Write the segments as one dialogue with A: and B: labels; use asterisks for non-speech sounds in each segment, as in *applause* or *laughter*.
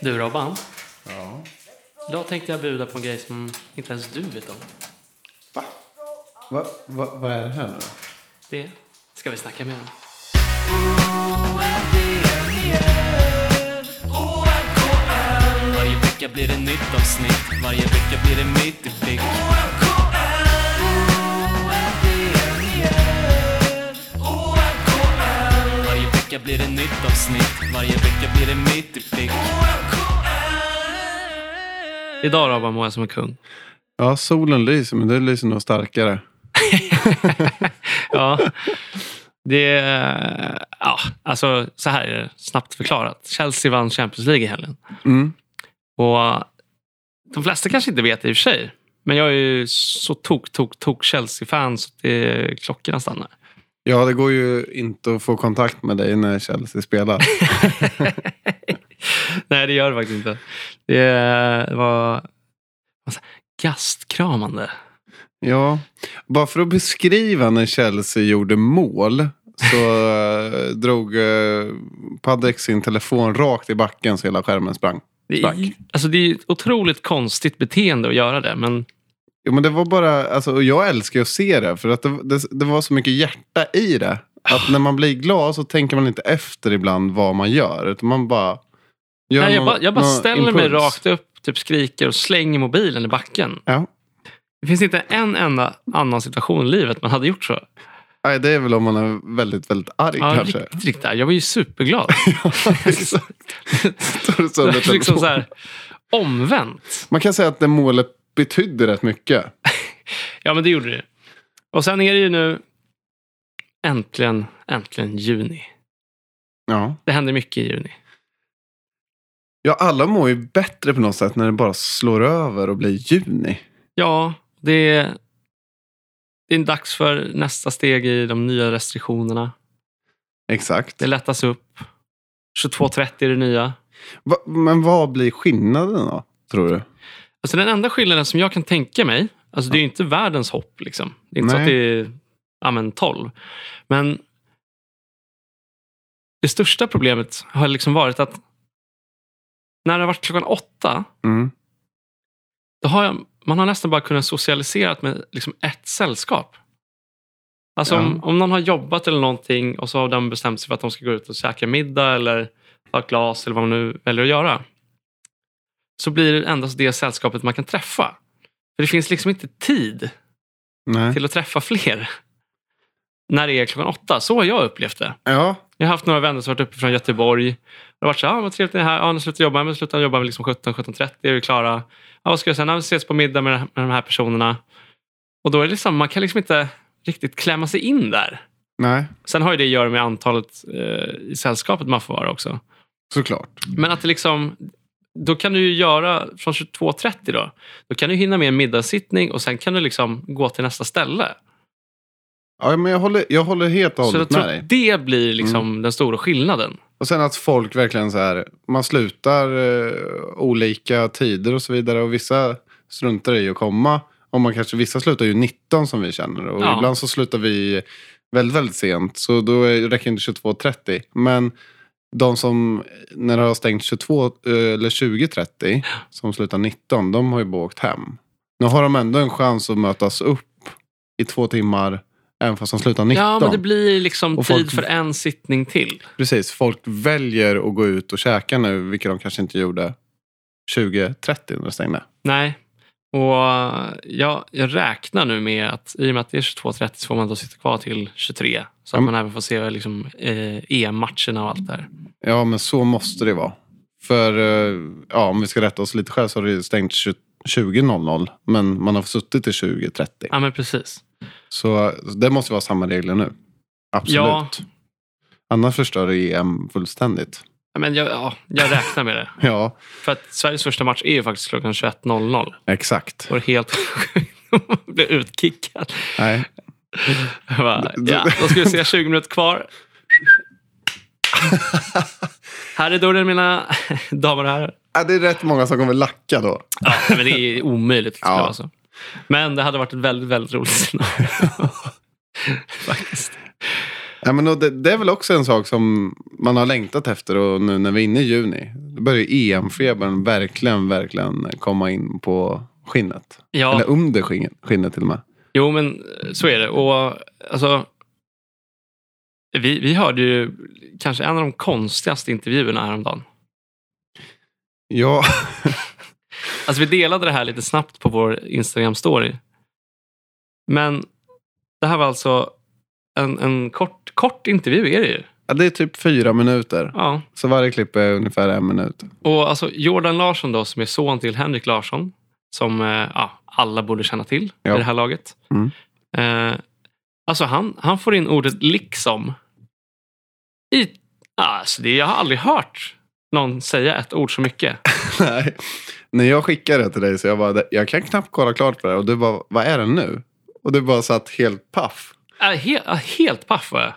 A: Du Robban,
B: Ja.
A: idag tänkte jag bjuda på en grej som inte ens du vet om.
B: Va? Va, va? Vad är det här nu då?
A: Det ska vi snacka mer om.
C: Varje vecka blir det nytt avsnitt Varje vecka blir det mitt i prick Varje vecka blir det nytt avsnitt Varje vecka blir det mitt i prick
A: Idag Robban mår jag som en kung.
B: Ja, solen lyser, men det lyser nog starkare.
A: Ja, det är... Ja, alltså så här är det snabbt förklarat. Chelsea vann Champions League i helgen.
B: Mm.
A: Och de flesta kanske inte vet det i och för sig. Men jag är ju så tok, tok, tok Chelsea-fan så det klockorna stannar.
B: Ja, det går ju inte att få kontakt med dig när Chelsea *laughs* spelar.
A: Nej, det gör det faktiskt inte. Det var vad sa- gastkramande.
B: Ja, bara för att beskriva när Chelsea gjorde mål så eh, drog eh, Padek sin telefon rakt i backen så hela skärmen sprang.
A: Det
B: Tack.
A: är, alltså, det är ett otroligt konstigt beteende att göra det. Men
B: Jo, men det var bara, alltså, och jag älskar ju att se det, för att det, det, det var så mycket hjärta i det. Att när man blir glad så tänker man inte efter ibland vad man gör, utan man bara... gör
A: nej, jag
B: någon-
A: bara, jag bara
B: någon
A: ställer mig
B: impuls.
A: rakt upp, typ skriker och slänger mobilen i backen.
B: Ja.
A: Det finns inte en enda annan situation i livet man hade gjort så.
B: Nej, det är väl om man är väldigt, väldigt arg
A: Ja,
B: kanske.
A: riktigt, riktigt. Jag var ju superglad.
B: *laughs* Står
A: Så
B: det
A: *laughs*
B: sönder
A: liksom
B: telefonen.
A: så här, omvänt.
B: Man kan säga att det målet betydde rätt mycket.
A: Ja, men det gjorde det. Och sen är det ju nu äntligen, äntligen juni.
B: Ja.
A: Det händer mycket i juni.
B: Ja, alla mår ju bättre på något sätt när det bara slår över och blir juni.
A: Ja, det är, det är dags för nästa steg i de nya restriktionerna.
B: Exakt.
A: Det lättas upp. 22.30 är det nya.
B: Va, men vad blir skillnaden då, tror du?
A: Alltså den enda skillnaden som jag kan tänka mig, alltså det är ju inte världens hopp. Liksom. Det är inte så
B: Nej.
A: att det är ja, men 12. Men det största problemet har liksom varit att när det har varit klockan åtta,
B: Mm.
A: då har jag, man har nästan bara kunnat socialisera med liksom ett sällskap. Alltså om,
B: Ja.
A: om någon har jobbat eller någonting och så har den bestämt sig för att de ska gå ut och käka middag eller ta ett glas eller vad man nu väljer att göra. Så blir det endast det sällskapet man kan träffa. För det finns liksom inte tid
B: Nej.
A: till att träffa fler. När det är klockan åtta. Så har jag upplevt det.
B: Ja,
A: Jag har haft några vänner som varit uppe från Göteborg. Det har varit så här, ah, vad trevligt det är här. Ja, nu slutar jag jobba. Men slutar jag jobba vid liksom 17, 17.30 är vi klara. Ja, vad ska jag säga? Ja, vi ses på middag med, med de här personerna. Och då är det liksom, man kan liksom inte riktigt klämma sig in där.
B: nej.
A: Sen har ju det att göra med antalet eh, i sällskapet man får vara också.
B: Såklart.
A: Men att det liksom, då kan du ju göra från 22.30 då. Då kan du hinna med en middagssittning och sen kan du liksom gå till nästa ställe.
B: Ja, men jag håller, jag håller helt och
A: Så
B: hållet
A: jag tror
B: med dig. Mm.
A: att det blir liksom den stora skillnaden.
B: Och sen att folk verkligen så här, man slutar eh, olika tider och så vidare. Och vissa struntar i att komma. Och man kanske, vissa slutar ju 19 som vi känner. Och
A: Ja.
B: ibland så slutar vi väldigt, väldigt sent. Så då är- räcker inte 22.30. Men de som, när det har stängt 22 eh, eller 20.30, som slutar 19, de har ju bara åkt hem. Nu har de ändå en chans att mötas upp i två timmar, även fast de slutar 19.
A: Ja, men det blir liksom
B: Och
A: tid
B: folk-
A: för en sittning till.
B: Precis, folk väljer att gå ut och käka nu, vilket de kanske inte gjorde 2030 när det stängde.
A: Nej. Och jag, jag räknar nu med att i och med att det är 22.30 så får man då sitta kvar till 23. Så att
B: Mm.
A: man även får se liksom, eh, EM-matcherna och allt där.
B: Ja, men så måste det vara. För eh, ja, om vi ska rätta oss lite själv så har det ju stängt 20 20.00, men man har suttit till 20.30.
A: Ja, men precis.
B: Så det måste vara samma regler nu. Absolut.
A: Ja.
B: Annars förstör det EM fullständigt.
A: Ja, Men jag, ja, jag räknar med det.
B: Ja,
A: För att Sveriges första match är ju faktiskt klockan 21.00.
B: exakt.
A: Och det är helt *laughs* blev utkickad.
B: Nej.
A: Jag Bara, ja, då ska vi se 20 minuter
B: *laughs*
A: kvar. här är dörren mina damer och herrar.
B: Ja, det är rätt många som kommer lacka då.
A: Ja, men det är omöjligt.
B: Ja.
A: Ja. Alltså. Men det hade varit ett väldigt, väldigt roligt scenario. Faktiskt.
B: Ja, men och det, det är väl också en sak som man har längtat efter och nu när vi är inne i juni. Då börjar ju EM-febern verkligen, verkligen komma in på skinnet.
A: Ja.
B: Eller under skinnet, skinnet till och med.
A: Jo, men eh, så är det. Och alltså, vi, vi hörde ju kanske en av de konstigaste intervjuerna häromdagen.
B: Ja, *laughs*
A: Alltså, vi delade det här lite snabbt på vår Instagram-story. Men det här var alltså en, en kort, kort intervju. är det ju.
B: ja, det är typ fyra minuter.
A: Ja.
B: Så varje klipp är ungefär en minut. *laughs*
A: Och alltså Jordan Larsson då, som är son till Henrik Larsson, som eh, ja, alla borde känna till
B: Ja.
A: i det här laget.
B: Mm.
A: Eh, alltså han, han får in ordet liksom. I, alltså det, jag har aldrig hört någon säga ett ord så mycket.
B: Nej. När jag skickade det till dig så jag bara, jag kan knappt kolla klart på det här. Och du bara, vad är det nu? Och du bara satt helt paff.
A: Äh, he, äh, helt paff var jag.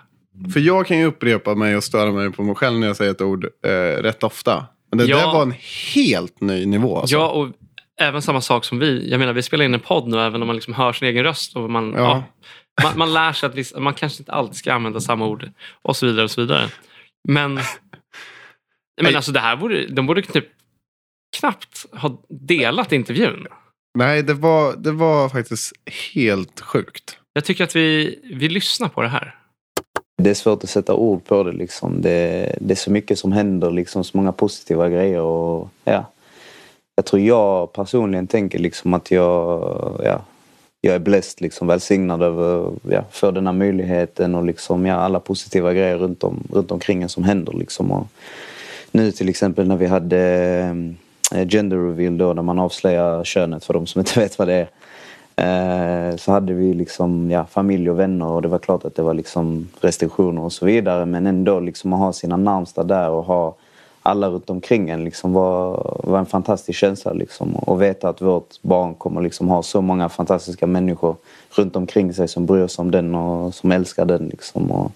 B: För jag kan ju upprepa mig och störa mig på mig själv när jag säger ett ord eh, rätt ofta. Men det
A: Ja.
B: där var en helt ny nivå. Alltså.
A: Ja, och även samma sak som vi. Jag menar, vi spelar in en podd nu, även om man liksom hör sin egen röst. Och man,
B: Ja.
A: ja. man, man lär sig att vissa, man kanske inte alltid ska använda samma ord och så vidare. och så vidare. Men, men
B: Nej.
A: alltså det här borde, de borde typ knappt ha delat intervjun.
B: Nej, det var, det var faktiskt helt sjukt.
A: Jag tycker att vi, vi lyssnar på det här.
D: Det är svårt att sätta ord på det. Liksom. Det, det är så mycket som händer, liksom, så många positiva grejer. Och, ja. Jag tror jag personligen tänker liksom att jag, ja, jag är blessed, liksom, välsignad över, ja, för den här möjligheten och liksom, ja, alla positiva grejer runt, om, runt omkring en som händer. Liksom. Och nu till exempel när vi hade eh, gender reveal då, när man avslöjar könet för de som inte *laughs* vet vad det är. Eh, så hade vi liksom, ja, familj och vänner och det var klart att det var liksom restriktioner och så vidare. Men ändå liksom att ha sina närmsta där och ha alla runt omkring en liksom var, var en fantastisk känsla. Liksom. Och veta att vårt barn kommer liksom ha så många fantastiska människor runt omkring sig som bryr sig om den och som älskar den. Liksom. Och,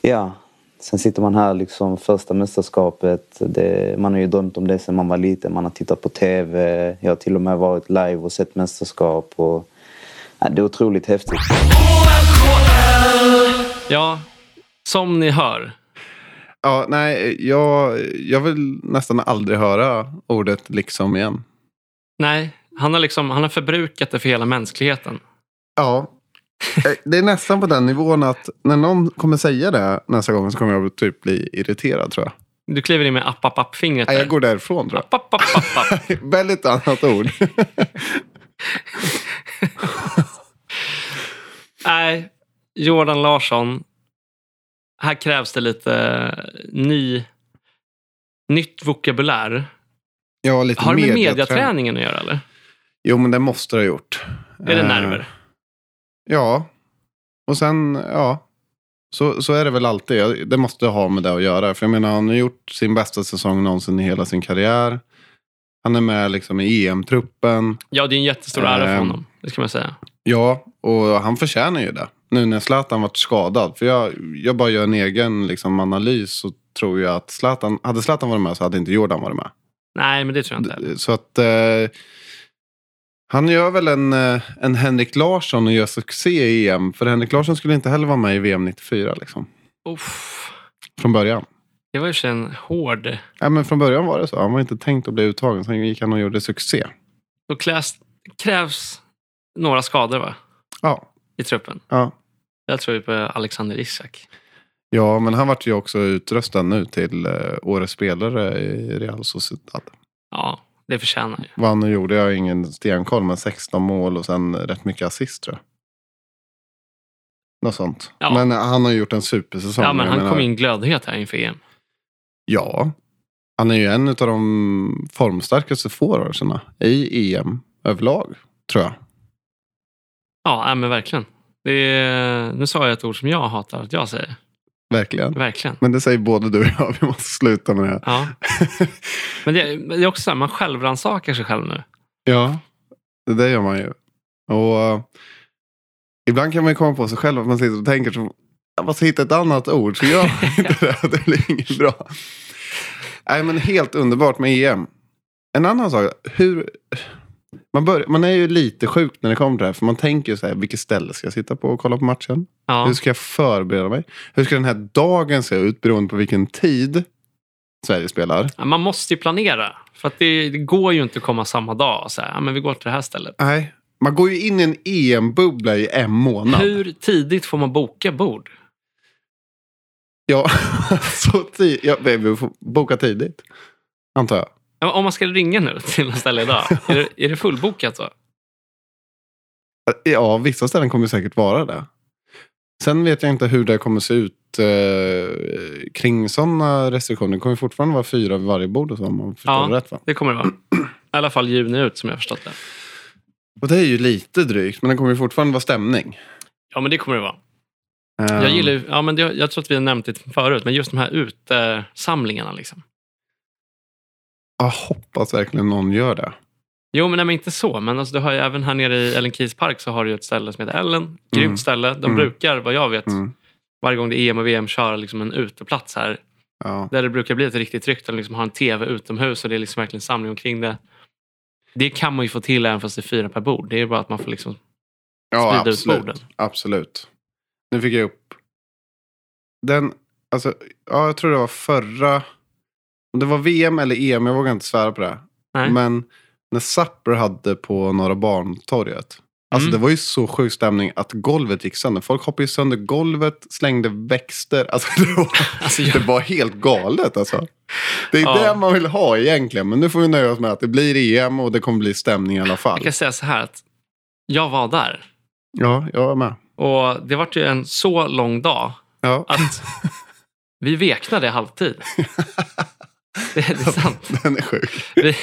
D: ja. Sen sitter man här liksom första mästerskapet. Det, man har ju drömt om det sedan man var liten. Man har tittat på TV. Jag har till och med varit live och sett mästerskap. Och, ja, det är otroligt häftigt.
A: Ja, som ni hör.
B: Ja, nej, jag, jag vill nästan aldrig höra ordet liksom igen.
A: Nej, han har, liksom, han har förbrukat det för hela mänskligheten.
B: Ja. Eh, Det är nästan på den nivån att när någon kommer säga det nästa gång så kommer jag typ bli irriterad tror jag.
A: Du kliver in med app, app, app fingret.
B: Nej, jag går därifrån tror
A: app, app, app, app,
B: *laughs*
A: app.
B: jag. Väldigt annat ord.
A: Nej, Jordan Larsson. Här krävs det lite eh, ny, nytt vokabulär.
B: Ja, lite
A: Har det med
B: mediaträ-
A: mediaträningen att göra? eller?
B: Jo, men det måste det ha gjort.
A: Är det
B: Eh,
A: nerver?
B: Ja. Och sen, ja. Så, så är det väl alltid. Ja, Det måste ha med det att göra. För jag menar, han har gjort sin bästa säsong någonsin i hela sin karriär. Han är med liksom i EM-truppen.
A: Ja, det är en jättestor ära för
B: Ehm.
A: honom. Det ska man säga.
B: Ja, och han förtjänar ju det. Nu när Zlatan varit skadad. För jag, jag bara gör en egen liksom, analys så tror jag att Zlatan, hade Zlatan varit med så hade inte Jordan varit med.
A: Nej, men det tror jag inte. heller.
B: Så att eh, han gör väl en, eh, en Henrik Larsson och gör succé i EM. För Henrik Larsson skulle inte heller vara med i VM 94 liksom.
A: Uff,
B: Från början.
A: det var ju för sig en hård...
B: Ja, men från början var det så. Han var inte tänkt att bli uttagen. Sen gick han och gjorde succé.
A: Då krävs, krävs några skador va?
B: Ja,
A: i truppen.
B: ja.
A: Jag tror ju på Alexander Isak.
B: ja men han vart ju också utröstad nu till eh, årets spelare i Real Sociedad.
A: Ja, det förtjänar ju.
B: Vad han nu gjorde, jag har ingen stenkoll, men 16 mål och sen rätt mycket assist tror jag. Något sånt.
A: Ja.
B: Men han har gjort en supersäsong.
A: Ja, men
B: Jag
A: han
B: menar-
A: kom in glödhet här inför E EM.
B: Ja, han är ju en av de formstarkaste forwardsarna i EM överlag, tror jag.
A: Ja, ja, men verkligen. Det är, nu sa jag ett ord som jag hatar att jag säger.
B: Verkligen.
A: Verkligen.
B: Men det säger både du och jag, vi måste sluta med det.
A: Ja.
B: *laughs*
A: Men det, men det är också så här, man självrannsakar sig själv nu.
B: ja, det där gör man ju. Och eh, ibland kan man ju komma på sig själv att man sitter och tänker så, jag måste hitta ett annat ord, så gör man inte det, det blir inget bra. E Nej, men helt underbart med EM. En annan sak, hur, Man, bör, man är ju lite sjuk när det kommer till det här. För man tänker ju så här, vilket ställe ska jag sitta på och kolla på matchen?
A: Ja.
B: Hur ska jag förbereda mig? Hur ska den här dagen se ut beroende på vilken tid Sverige spelar?
A: Ja, Man måste ju planera. För att det, det går ju inte att komma samma dag och säga ja, men vi går till det här stället.
B: Nej. Man går ju in i en EM-bubbla i en månad.
A: Hur tidigt får man boka bord?
B: Ja, *laughs* så tid, ja, vi får boka tidigt. Antar jag.
A: Ja, Om man ska ringa nu *laughs* till något ställe idag, är det, är det fullbokat då?
B: Ja, vissa ställen kommer säkert vara det. Sen vet jag inte hur det kommer se ut eh, kring sådana restriktioner. Det kommer fortfarande vara fyra vid varje bord och så om man förstår
A: Ja.
B: det rätt va?
A: Det kommer det vara. I alla fall juni ut som jag har förstått det.
B: Och det är ju lite drygt, men det kommer ju fortfarande vara stämning.
A: Ja, men det kommer det vara.
B: Eh,
A: Jag gillar ju, ja, men jag, jag tror att vi har nämnt det förut, men just de här utesamlingarna. Liksom.
B: Jag hoppas verkligen någon gör det.
A: Jo, men, nej, men inte så. Men alltså, du har ju även här nere i Ellen Keys park så har du ju ett ställe som heter Ellen. Grymt
B: Mm.
A: ställe. De
B: Mm.
A: brukar, vad jag vet,
B: Mm.
A: varje gång det är EM och VM köra liksom en uteplats här.
B: Ja.
A: Där det brukar bli ett riktigt tryck. De liksom har en tv utomhus och det är liksom verkligen samling omkring det. Det kan man ju få till även fast det är fyra per bord. Det är ju bara att man får liksom...
B: Ja,
A: Sprida ut
B: absolut.
A: borden.
B: absolut. Nu fick jag upp. Den, alltså, ja, jag tror det var förra. Om det var VM eller EM, jag vågar inte svära på det.
A: Nej.
B: Men när Supper hade på Norra Barntorget. Alltså
A: Mm.
B: det var ju så sjuk stämning att golvet gick sönder. Folk hoppade ju sönder golvet, slängde växter. *laughs* Alltså *laughs* det var,
A: Alltså, jag-
B: det var helt galet alltså. Det är
A: Ja.
B: det man vill ha egentligen. Men nu får vi nöja oss med att det blir EM och det kommer bli stämning i alla fall.
A: Jag kan säga så här att jag var där.
B: Ja, jag är med.
A: Och det vart ju en så lång dag
B: Ja.
A: att vi veknade i
B: *laughs*
A: halvtid. Det, det är sant.
B: Den är sjuk.
A: Vi,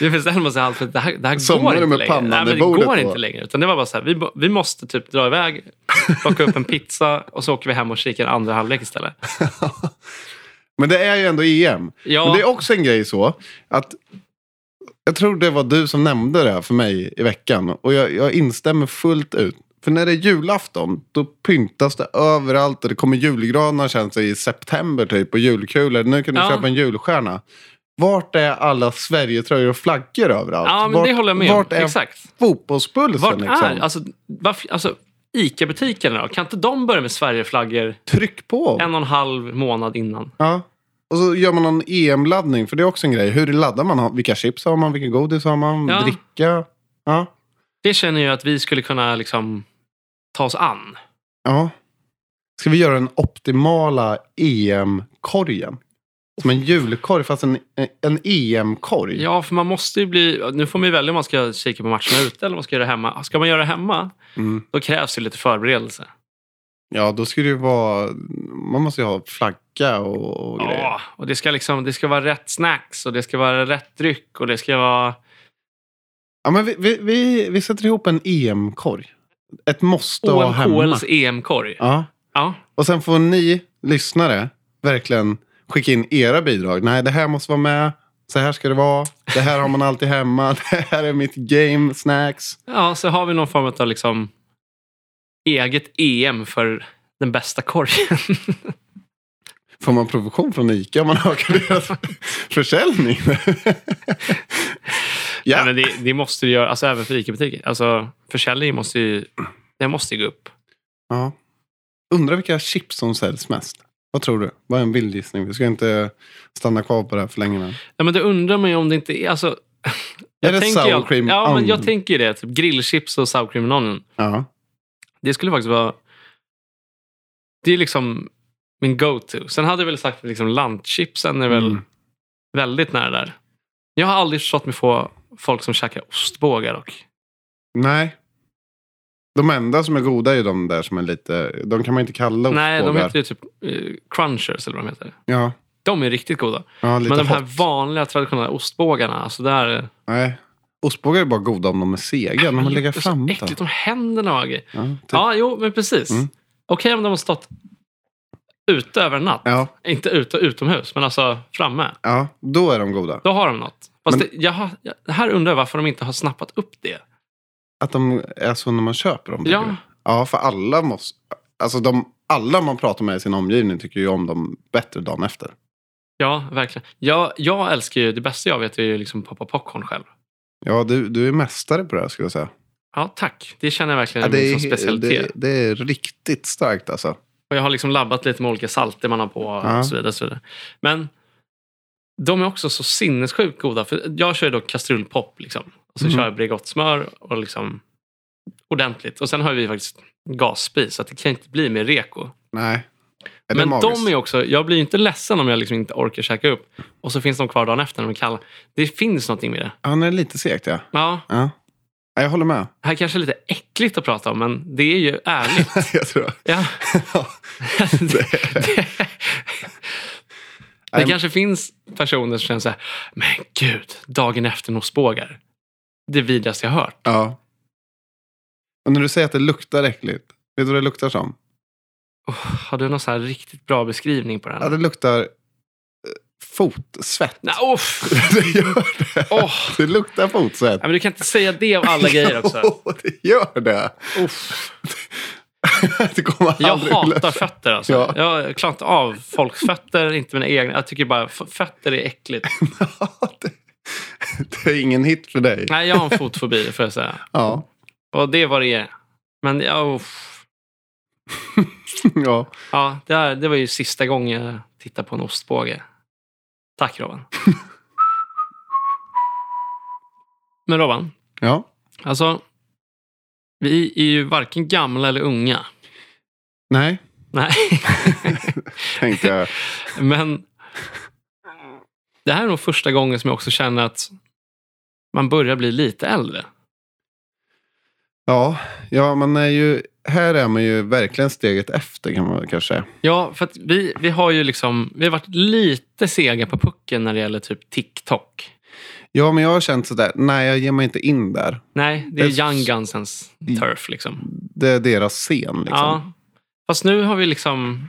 A: vi bestämde oss i halvtid. Det här, det här går
B: Somnade
A: inte
B: med
A: längre.
B: pannan
A: Nej,
B: i
A: men det
B: bordet
A: går
B: då?
A: inte längre. Utan det var bara så här, vi, bo- vi måste typ dra iväg, plocka upp en pizza och så åker vi hem och kikar andra halvlek istället.
B: Men det är ju ändå EM.
A: Ja,
B: Men det är också en grej så att jag tror det var du som nämnde det här för mig i veckan. Och jag, jag instämmer fullt ut. För när det är julafton, då pyntas det överallt och det kommer julgranar känns det i september typ och julkulor. Nu kan du
A: Ja.
B: köpa en julstjärna. Vart är alla Sverigetröjor och flaggor överallt?
A: ja men
B: vart,
A: det håller jag med om.
B: Vart är
A: Exakt.
B: fotbollspulsen?
A: Vart
B: liksom?
A: är, alltså, varför, alltså ICA-butikerna då? Kan inte de börja med Sverigeflaggor
B: Tryck på!
A: en och en halv månad innan?
B: Ja. Och så gör man någon EM-laddning, för det är också en grej. Hur laddar man? Har- Vilka chips har man? Vilken godis har man?
A: Ja.
B: Dricka? Ja.
A: Det känner jag att vi skulle kunna liksom ta oss an.
B: ja. Ska vi göra den optimala EM-korgen? Som en julkorg, fast en, en EM-korg.
A: Ja, för man måste ju bli... Nu får man ju välja om man ska kika på matcherna ute eller om man ska göra det hemma. Ska man göra det hemma,
B: Mm.
A: då krävs det lite förberedelse.
B: ja, då ska det ju vara... Man måste ju ha flagga och, och grejer.
A: Ja, och det ska, liksom, det ska vara rätt snacks och det ska vara rätt dryck och det ska vara...
B: Ja, men vi, vi, vi, vi sätter ihop en EM-korg. Ett måste ha hemma.
A: OMKLs EM-korg. E Ja.
B: Ja. Och sen får ni lyssnare verkligen skicka in era bidrag. Nej, det här måste vara med. Så här ska det vara. Det här har man alltid hemma. *laughs* Det här är mitt game, snacks.
A: ja, så har vi någon form av liksom eget EM för den bästa korgen.
B: Får man provision från ICA om man ökar deras *laughs* försäljning?
A: Nej, *laughs*
B: ja,
A: men det, det måste ju göra, alltså även för ICA-butiker. Alltså, försäljningen måste ju, den måste ju gå upp.
B: ja. Undrar vilka chips som säljs mest. Vad tror du? Vad är en vild gissning? Vi ska inte stanna kvar på det här för länge. Men.
A: Ja, men det undrar man ju om det inte är... Alltså, jag
B: det
A: tänker ju
B: sour
A: alltid-
B: cream
A: Ja, men
B: onion?
A: jag tänker ju det. Typ grillchips och sour cream and onion.
B: Ja.
A: Det skulle faktiskt vara... Det är liksom min go-to. Sen hade jag väl sagt att liksom lantchipsen är väl
B: Mm.
A: väldigt nära där. Jag har aldrig förstått mig få folk som käkar ostbågar dock.
B: Nej. De enda som är goda är ju de där som är lite... De kan man inte kalla
A: Nej, de
B: ostbågar.
A: heter ju typ eh, crunchers eller vad de heter.
B: Ja,
A: De är riktigt goda.
B: ja lite
A: Men de här
B: hot.
A: vanliga traditionella ostbågarna, alltså där...
B: Nej. Ostbågar är bara goda om de är sega. De har legat
A: Det är
B: framme.
A: Så äckligt, de händerna och grejer.
B: Ja, typ. ja.
A: Ja, jo, men precis.
B: Mm.
A: Okej om de har stått ute över en natt.
B: Ja,
A: Inte ute, utomhus, men alltså framme.
B: då är de goda.
A: Då har de något. Fast
B: Men-
A: det, jag har, jag, här undrar jag varför de inte har snappat upp det.
B: Att de är så när man köper dem. tycker
A: Ja,
B: du? ja för alla måste... Alltså de, alla man pratar med i sin omgivning tycker ju om dem bättre dagen efter.
A: ja verkligen. Jag, jag älskar ju, det bästa jag vet är ju liksom poppa popcorn själv.
B: Ja, du, du är mästare på det här skulle jag säga.
A: Ja, tack. Det känner jag verkligen
B: Ja,
A: är min
B: det,
A: som
B: är,
A: specialitet.
B: det, det är riktigt starkt alltså.
A: Och jag har liksom labbat lite med olika salter man har på och,
B: Ja.
A: så vidare, och så vidare. Men de är också så sinnessjukt goda. För jag kör ju då kastrullpop. Liksom. Och så
B: Mm.
A: kör jag Bregottsmör och liksom ordentligt. Och sen har vi faktiskt gasspis, så att det kan inte bli mer reko.
B: Nej. Är
A: Men
B: det magiskt?
A: de är också, jag blir ju inte ledsen om jag liksom inte orkar käka upp. Och så finns de kvar dagen efter när de är kalla. Det finns någonting med det.
B: Han är lite segt ja.
A: Ja,
B: ja. Ja, Jag håller med. *laughs*
A: det här kanske är lite äckligt att prata om, men det är ju ärligt.
B: jag tror *laughs*
A: Ja.
B: Ja.
A: det, det,
B: Nej, men-
A: kanske finns personer som känner så här, men gud, dagen efter nossbågar. Det vidrigaste jag hört.
B: Ja. Och när du säger att det luktar äckligt. Vet du vad det luktar som?
A: Oh, har du någon så här riktigt bra beskrivning på den?
B: Ja, det luktar eh, fotsvett. *laughs*
A: Nej, uff.
B: det gör det.
A: Åh.
B: Det luktar fotsvett.
A: Nej, men du kan inte säga det av alla grejer
B: *laughs*
A: också.
B: Jo, det gör det.
A: Uff.
B: det kommer
A: Jag
B: aldrig
A: hatar
B: lösa.
A: fötter alltså.
B: Ja.
A: Jag klarar inte av folks fötter, inte mina egna. Jag tycker bara f- fötter är äckligt.
B: *laughs* Ja, det, det är ingen hit för dig.
A: Nej, jag har en fotfobi får jag säga.
B: Ja.
A: Och det är vad det är. Men ja, uff.
B: ja.
A: Ja, det, här, det var ju sista gången jag tittade på en ostbåge. Tack Robban. Men Robban,
B: ja.
A: alltså. Vi är ju varken gamla eller unga.
B: Nej,
A: Nej, *laughs*
B: tänkte jag.
A: men det här är nog första gången som jag också känner att man börjar bli lite äldre.
B: Ja, ja man är ju, här är man ju verkligen steget efter kan man väl kanske säga.
A: Ja, för att vi, vi har ju liksom, vi har varit lite sega på pucken när det gäller typ TikTok.
B: Ja, men jag har känt sådär, nej jag ger mig inte in där.
A: Nej, det är
B: Det är
A: Young
B: s-
A: Gunsens turf liksom.
B: Det är deras scen. Liksom.
A: Ja. Fast nu har vi liksom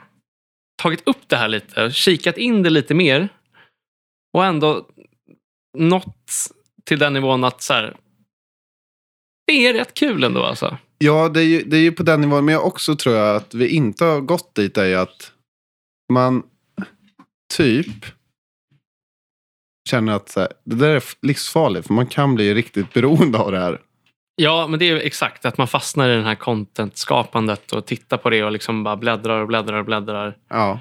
A: tagit upp det här lite, kikat in det lite mer och ändå nått till den nivån att så här, det är rätt kul ändå. Alltså.
B: Ja, det är, ju, det är ju på den nivån. Men jag också tror jag att vi inte har gått dit är ju att man typ känner att så här, det där är f- livsfarligt. För man kan bli riktigt beroende av det här.
A: Ja, men det är ju exakt att man fastnar i det här content-skapandet och tittar på det och liksom bara bläddrar och bläddrar och bläddrar.
B: Ja.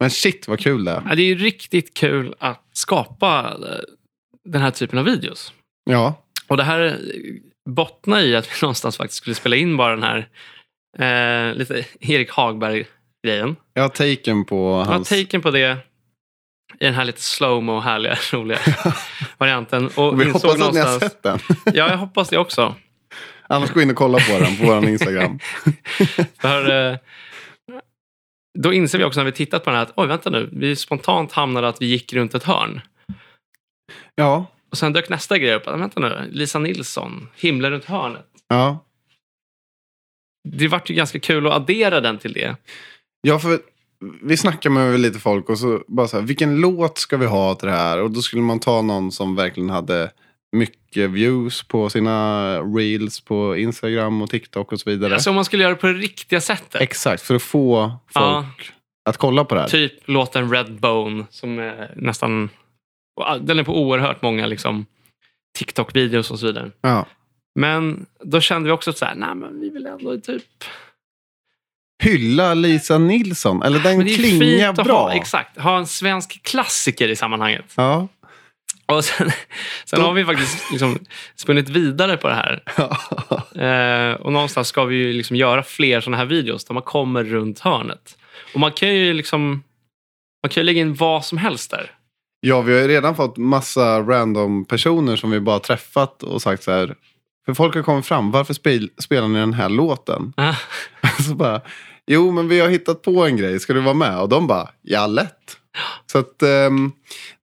B: Men shit vad kul det är.
A: Ja, det är ju riktigt kul att skapa eh, den här typen av videos.
B: Ja.
A: Och det här bottnar i att vi *laughs* någonstans faktiskt skulle spela in bara den här eh, lite Erik Hagberg-grejen.
B: Jag har taken på
A: Jag har
B: hans...
A: taken på det i den här lite slowmo, härliga, *laughs*
B: *laughs*
A: roliga varianten. Och
B: Vi
A: insåg
B: hoppas att ni har
A: någonstans,
B: sett den.
A: Ja, jag hoppas det också.
B: Annars gå in och kolla på den på vår
A: *laughs*
B: Instagram.
A: För, eh, då inser vi också när vi tittat på den här att oj, vänta nu, vi spontant hamnade att vi gick runt ett hörn.
B: Ja.
A: Och sen dök nästa grej upp. "Ah, Vänta nu, Lisa Nilsson, himlen runt hörnet.
B: Ja.
A: Det vart ju ganska kul att addera den till det.
B: Ja, för vi snackade med lite folk och så bara så här, vilken låt ska vi ha till det här? Och då skulle man ta någon som verkligen hade mycket views på sina reels på Instagram och TikTok och så vidare.
A: Alltså om man skulle göra det på det riktiga sättet.
B: Exakt, för att få
A: Ja.
B: folk att kolla på det här.
A: Typ låten Redbone som är nästan... Den är på oerhört många liksom, TikTok-videos och så vidare.
B: Ja.
A: Men då kände vi också att så här, nej men vi vill ändå typ...
B: Hylla Lisa Nilsson, eller den
A: Men det är ju
B: klingar
A: fint att
B: bra.
A: ha, exakt, ha en svensk klassiker i sammanhanget.
B: Ja. *laughs*
A: Och sen, *laughs* sen
B: Då-
A: har vi faktiskt liksom spunnit vidare på det här. Eh, och någonstans ska vi ju liksom göra fler sådana här videos där man kommer runt hörnet. Och man kan ju liksom... Man kan ju lägga in vad som helst där.
B: *laughs* ja, vi har ju redan fått massa random personer som vi bara träffat och sagt så här. För folk har kommit fram, varför spel- spelar ni den här låten?
A: Ah.
B: *laughs* Så bara, jo men vi har hittat på en grej, ska du vara med? Och de bara, ja lätt. Så att ehm,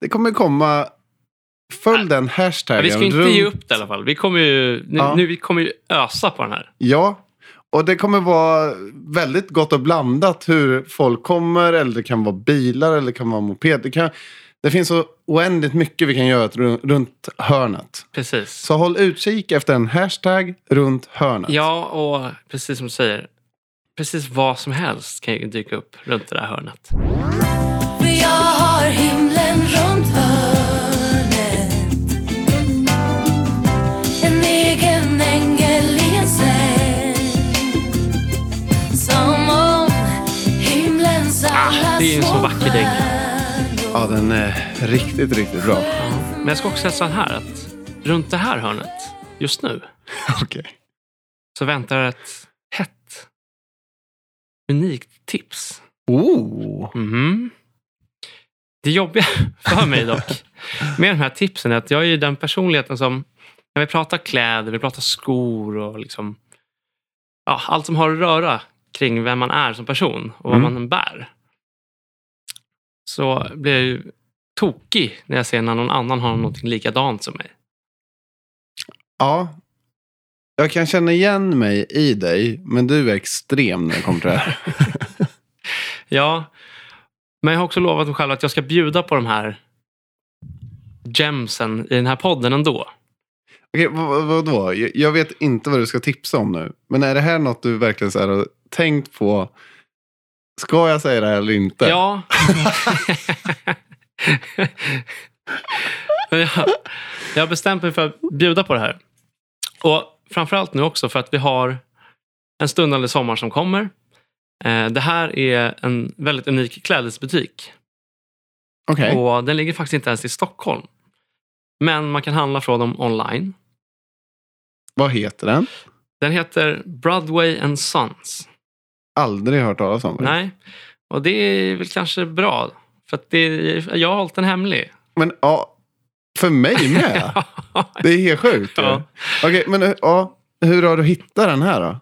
B: det kommer komma, följ den
A: Ja,
B: hashtaggen.
A: vi ska inte
B: runt-
A: ge upp det i alla fall. Vi kommer ju, nu,
B: Ja.
A: nu, vi kommer ju ösa på den här.
B: Ja, och det kommer vara väldigt gott och blandat hur folk kommer, eller det kan vara bilar, eller det kan vara moped. Det, kan, det finns så oändligt mycket vi kan göra ru- runt hörnet.
A: Precis.
B: Så håll utkik efter en hashtag runt hörnet.
A: Ja, och precis som du säger. Precis vad som helst kan ju dyka upp runt det där hörnet.
E: För jag har himlen runt hörnet
A: Ah, det är en så vacker däng.
B: Ja, den är riktigt,
A: *laughs*
B: riktigt bra.
A: Men jag ska också säga så här att runt det här hörnet just nu
B: Okej.
A: så väntar ett hett, unikt tips.
B: Oh!
A: Mhm. Det jobbiga *laughs* för mig dock med de här tipsen är att jag är ju den personligheten som när vi pratar kläder, vi pratar skor och liksom, ja, allt som har att röra kring vem man är som person och vad
B: Mm.
A: man bär. Så blir jag ju tokig när jag ser när någon annan har någonting likadant som mig.
B: Ja. Jag kan känna igen mig i dig, men du är extrem när det kommer till
A: *laughs*
B: det här.
A: Ja, men jag har också lovat mig själv att jag ska bjuda på de här gemsen i den här podden ändå.
B: Okej, vad, vadå? Jag, jag vet inte vad du ska tipsa om nu. Men är det här något du verkligen så här, har tänkt på? Ska jag säga det här eller inte?
A: Ja. Men jag, jag har bestämt mig för att bjuda på det här. Och framförallt nu också för att vi har en stundande sommar som kommer. Eh, Det här är en väldigt unik klädesbutik.
B: Okej.
A: Och den ligger faktiskt inte ens i Stockholm. Men man kan handla från dem online.
B: Vad heter den?
A: Den heter Broadway and Sons.
B: Aldrig hört talas om den.
A: Nej, och det är väl kanske bra. För att det är, jag har hållit den hemlig.
B: Men ja, för mig med.
A: *laughs*
B: det är helt sjukt. ju.
A: Ja.
B: Okej, men ja, hur har du hittat den här då?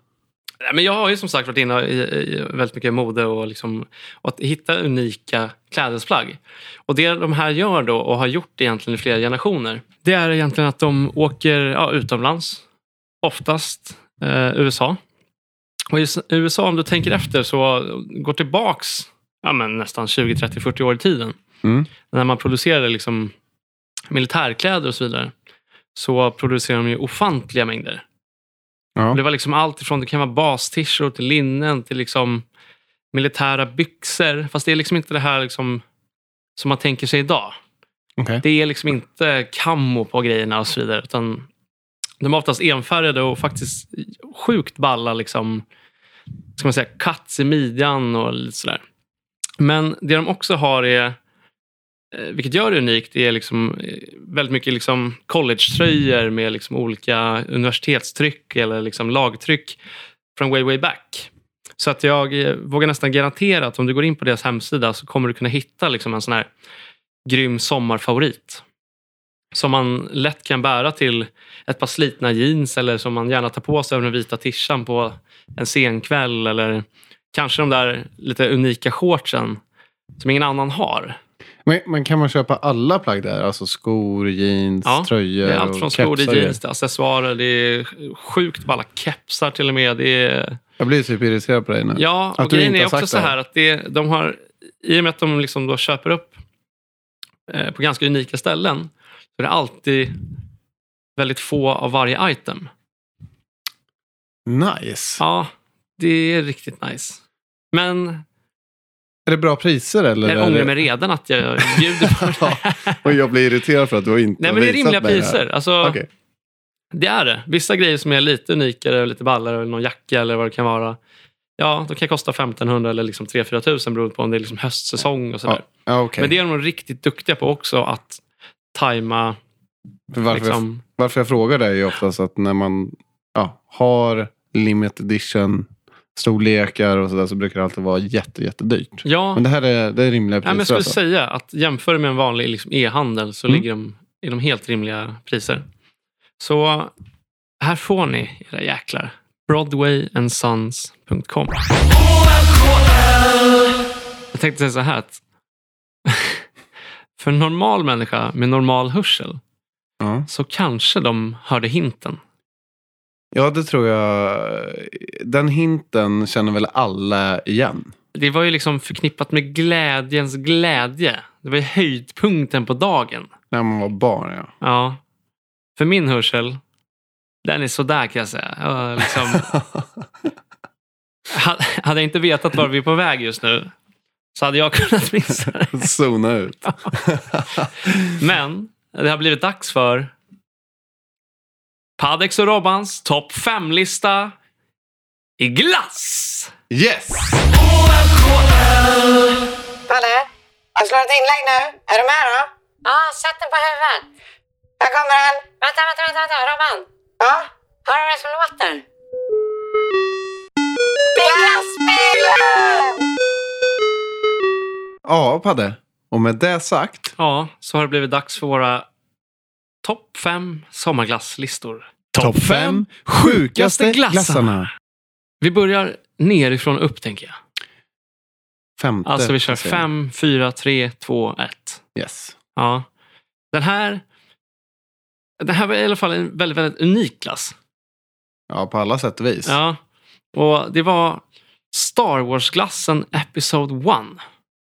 A: Nej, men jag har ju som sagt varit inne i, i väldigt mycket mode och, liksom, och att hitta unika klädesplagg. Och det de här gör då och har gjort egentligen i flera generationer, det är egentligen att de åker ja, utomlands, oftast eh, USA. Och i s- USA, om du tänker efter, så går tillbaks ja, men nästan 20, 30, 40 år i tiden.
B: Mm.
A: När man producerade liksom militärkläder och så vidare, så producerade de ju ofantliga mängder. Och
B: Ja.
A: det var liksom allt ifrån det kan vara bastischer till linnen till liksom militära byxor. Fast det är liksom inte det här liksom som man tänker sig idag.
B: Okej.
A: Det är liksom inte kammo på grejerna och så vidare. Utan de är oftast enfärgade och faktiskt sjukt balla liksom, ska man säga, cuts i midjan och lite sådär. Men det de också har är, eh, vilket gör det unikt, det är liksom eh, väldigt mycket liksom college-tröjor med liksom olika universitetstryck eller liksom lagtryck från way, way back. Så att jag eh, vågar nästan garantera att om du går in på deras hemsida så kommer du kunna hitta liksom en sån här grym sommarfavorit. Som man lätt kan bära till ett par slitna jeans eller som man gärna tar på sig över den vita tishan på en senkväll. Eller kanske de där lite unika shortsen som ingen annan har.
B: Men, men kan man köpa alla plagg där? Alltså skor, jeans,
A: Ja,
B: tröjor
A: Det är allt
B: och
A: från skor
B: kepsar
A: till
B: och
A: jeans till accessoarer. Det är sjukt balla kepsar till och med. Det är,
B: Jag blir typ irriterad på dig nu.
A: ja,
B: Att
A: och
B: du
A: grejen
B: inte
A: är också
B: har sagt
A: så
B: det här.
A: här att det, de har, i och med att de liksom då köper upp eh, på ganska unika ställen så är det alltid väldigt få av varje item.
B: Nice.
A: Ja, det är riktigt nice. Men
B: Är det bra priser eller?
A: jag
B: är
A: ångrar
B: det- *laughs*
A: mig redan att jag bjuder på det. här.
B: Och jag blir irriterad för att du inte
A: Nej,
B: har
A: men det är
B: visat
A: rimliga
B: mig det här.
A: priser. Alltså,
B: Okej.
A: Det är det. Vissa grejer som är lite unikare, och lite ballare, eller någon jacka eller vad det kan vara. Ja, de kan kosta 1500 eller liksom 3-4 tusen beroende på om det är liksom höstsäsong och sådär.
B: Ja, ja, okej.
A: Men det är de riktigt duktiga på också, att tajma.
B: För varför, jag,
A: Liksom,
B: varför jag frågar dig är ju oftast att när man ja, har limited edition storlekar och sådär så brukar det alltid vara jätte, jättedyrt.
A: ja,
B: Men det här är, det är rimliga
A: nej, men jag
B: priser.
A: skulle
B: alltså.
A: säga att jämför med en vanlig liksom, e-handel så
B: Mm.
A: ligger de i de helt rimliga priser. Så här får ni era jäklar. Broadwayandsons.com Jag tänkte säga så här att *laughs* för en normal människa med normal hörsel
B: Ja.
A: så kanske de hörde hinten.
B: ja, det tror jag. Den hinten känner väl alla igen.
A: Det var ju liksom förknippat med glädjens glädje. Det var ju höjdpunkten på dagen.
B: När man var barn, ja.
A: Ja. För min hörsel, den är sådär kan jag säga. Jag, liksom, hade hade jag inte vetat var vi är på väg just nu så hade jag kunnat missa det.
B: Zona ut.
A: Men det har blivit dags för Padex och Robbans topp 5-lista i glass.
B: Yes!
E: Han slår ett inlägg nu. Är du med då?
F: Ja, sätt den på huvudet.
E: Här kommer han.
F: Vänta, vänta, vänta, vänta. Robban.
E: Ja.
F: Hör du vad som låter?
E: Glassbilen!
B: Ja, Padde. Och med det sagt.
A: Ja, så har det blivit dags för våra topp fem sommarglasslistor.
B: Topp fem sjukaste glassarna.
A: Vi börjar nerifrån och upp, tänker jag.
B: Femte.
A: Alltså vi kör
B: placering.
A: fem, fyra, tre, två, ett.
B: Yes.
A: Ja. Den här... Den här var i alla fall en väldigt, väldigt unik glass.
B: Ja, på alla sätt och vis.
A: Ja. Och det var Star Wars-glassen Episode 1.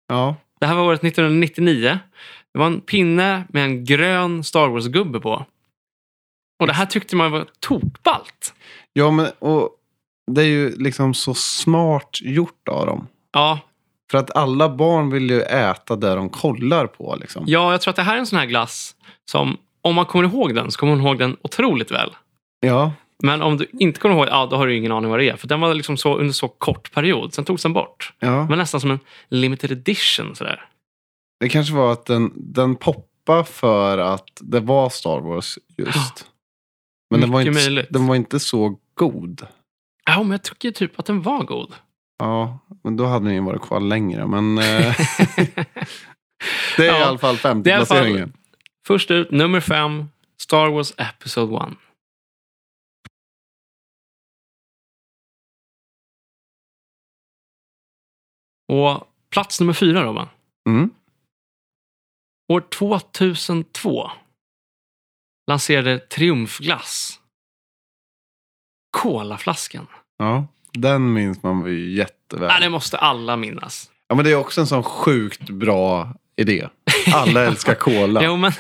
B: ja.
A: Det här var året 1999. Det var en pinne med en grön Star Wars-gubbe på. Och det här tyckte man var tokballt.
B: Ja, men och det är ju liksom så smart gjort av dem.
A: Ja,
B: För att alla barn vill ju äta det de kollar på. Liksom.
A: ja, jag tror att det här är en sån här glass som om man kommer ihåg den så kommer man ihåg den otroligt väl.
B: Ja.
A: Men om du inte kommer ihåg, ja, då har du ingen aning vad det är. För den var liksom så, under så kort period, sen togs den bort.
B: ja.
A: Den var nästan som en limited edition. Sådär.
B: Det kanske var att den, den poppade för att det var Star Wars just. Men den var,
A: Mycket
B: inte,
A: möjligt.
B: den var inte så god.
A: Ja, men jag tycker typ att den var god. *laughs*
B: Ja, men då hade den ju varit kvar längre. Men eh, det är
A: Ja,
B: i alla fall
A: det är i alla fall-
B: femteplaceringen.
A: Först ut, nummer fem, Star Wars Episode 1. Och plats nummer fyra, Robban.
B: Mm.
A: År 2002 lanserade Triumfglass Kolaflaskan.
B: Ja, den minns man ju
A: Ja, det
B: jätteväl.
A: måste alla minnas.
B: Ja, men det är också en sån sjukt bra idé. Alla älskar cola.
A: *laughs* Jo, men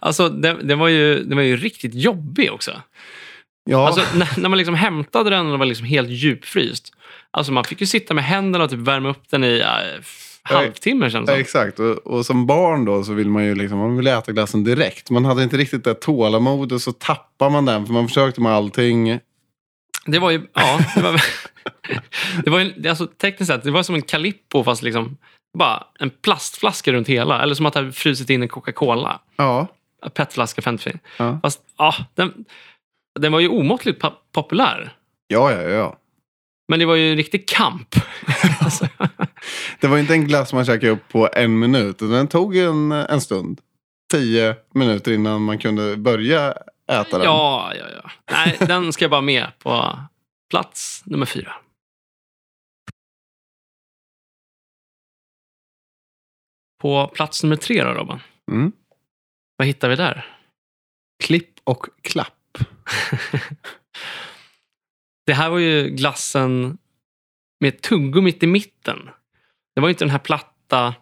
A: alltså, den, den, var ju, den var ju riktigt jobbig också.
B: Ja,
A: Alltså, när, när man liksom hämtade den och den var liksom helt djupfryst. Alltså, man fick ju sitta med händerna och typ värma upp den i äh, halvtimme känns
B: ja,
A: det som.
B: *laughs* exakt. Och, och som barn då så vill man ju liksom, man vill äta glassen direkt. Man hade inte riktigt det tålamodet så tappar man den för man försökte med allting.
A: Det var ju, ja. Det var, *laughs* det var ju, det- alltså, tekniskt sett, det var som en Calippo fast liksom bara en plastflaska runt hela. Eller som att det hade frusit in en Coca-Cola.
B: Ja.
A: Petflaska 50.
B: Ja.
A: Fast ja, den, den var ju omåttligt po- populär.
B: Ja, ja, ja.
A: Men det var ju en riktig kamp. *laughs* alltså,
B: Det var inte en glass man käkade upp på en minut. utan Den tog en, en stund. Tio minuter innan man kunde börja äta den.
A: ja, ja, ja. Nej, den ska jag bara med på plats nummer fyra. På plats nummer tre då, Robban.
B: Mm.
A: Vad hittar vi där?
B: Klipp och
A: *laughs*
B: klapp.
A: Det här var ju glassen med tuggummi mitt i mitten. Det var ju inte den här platta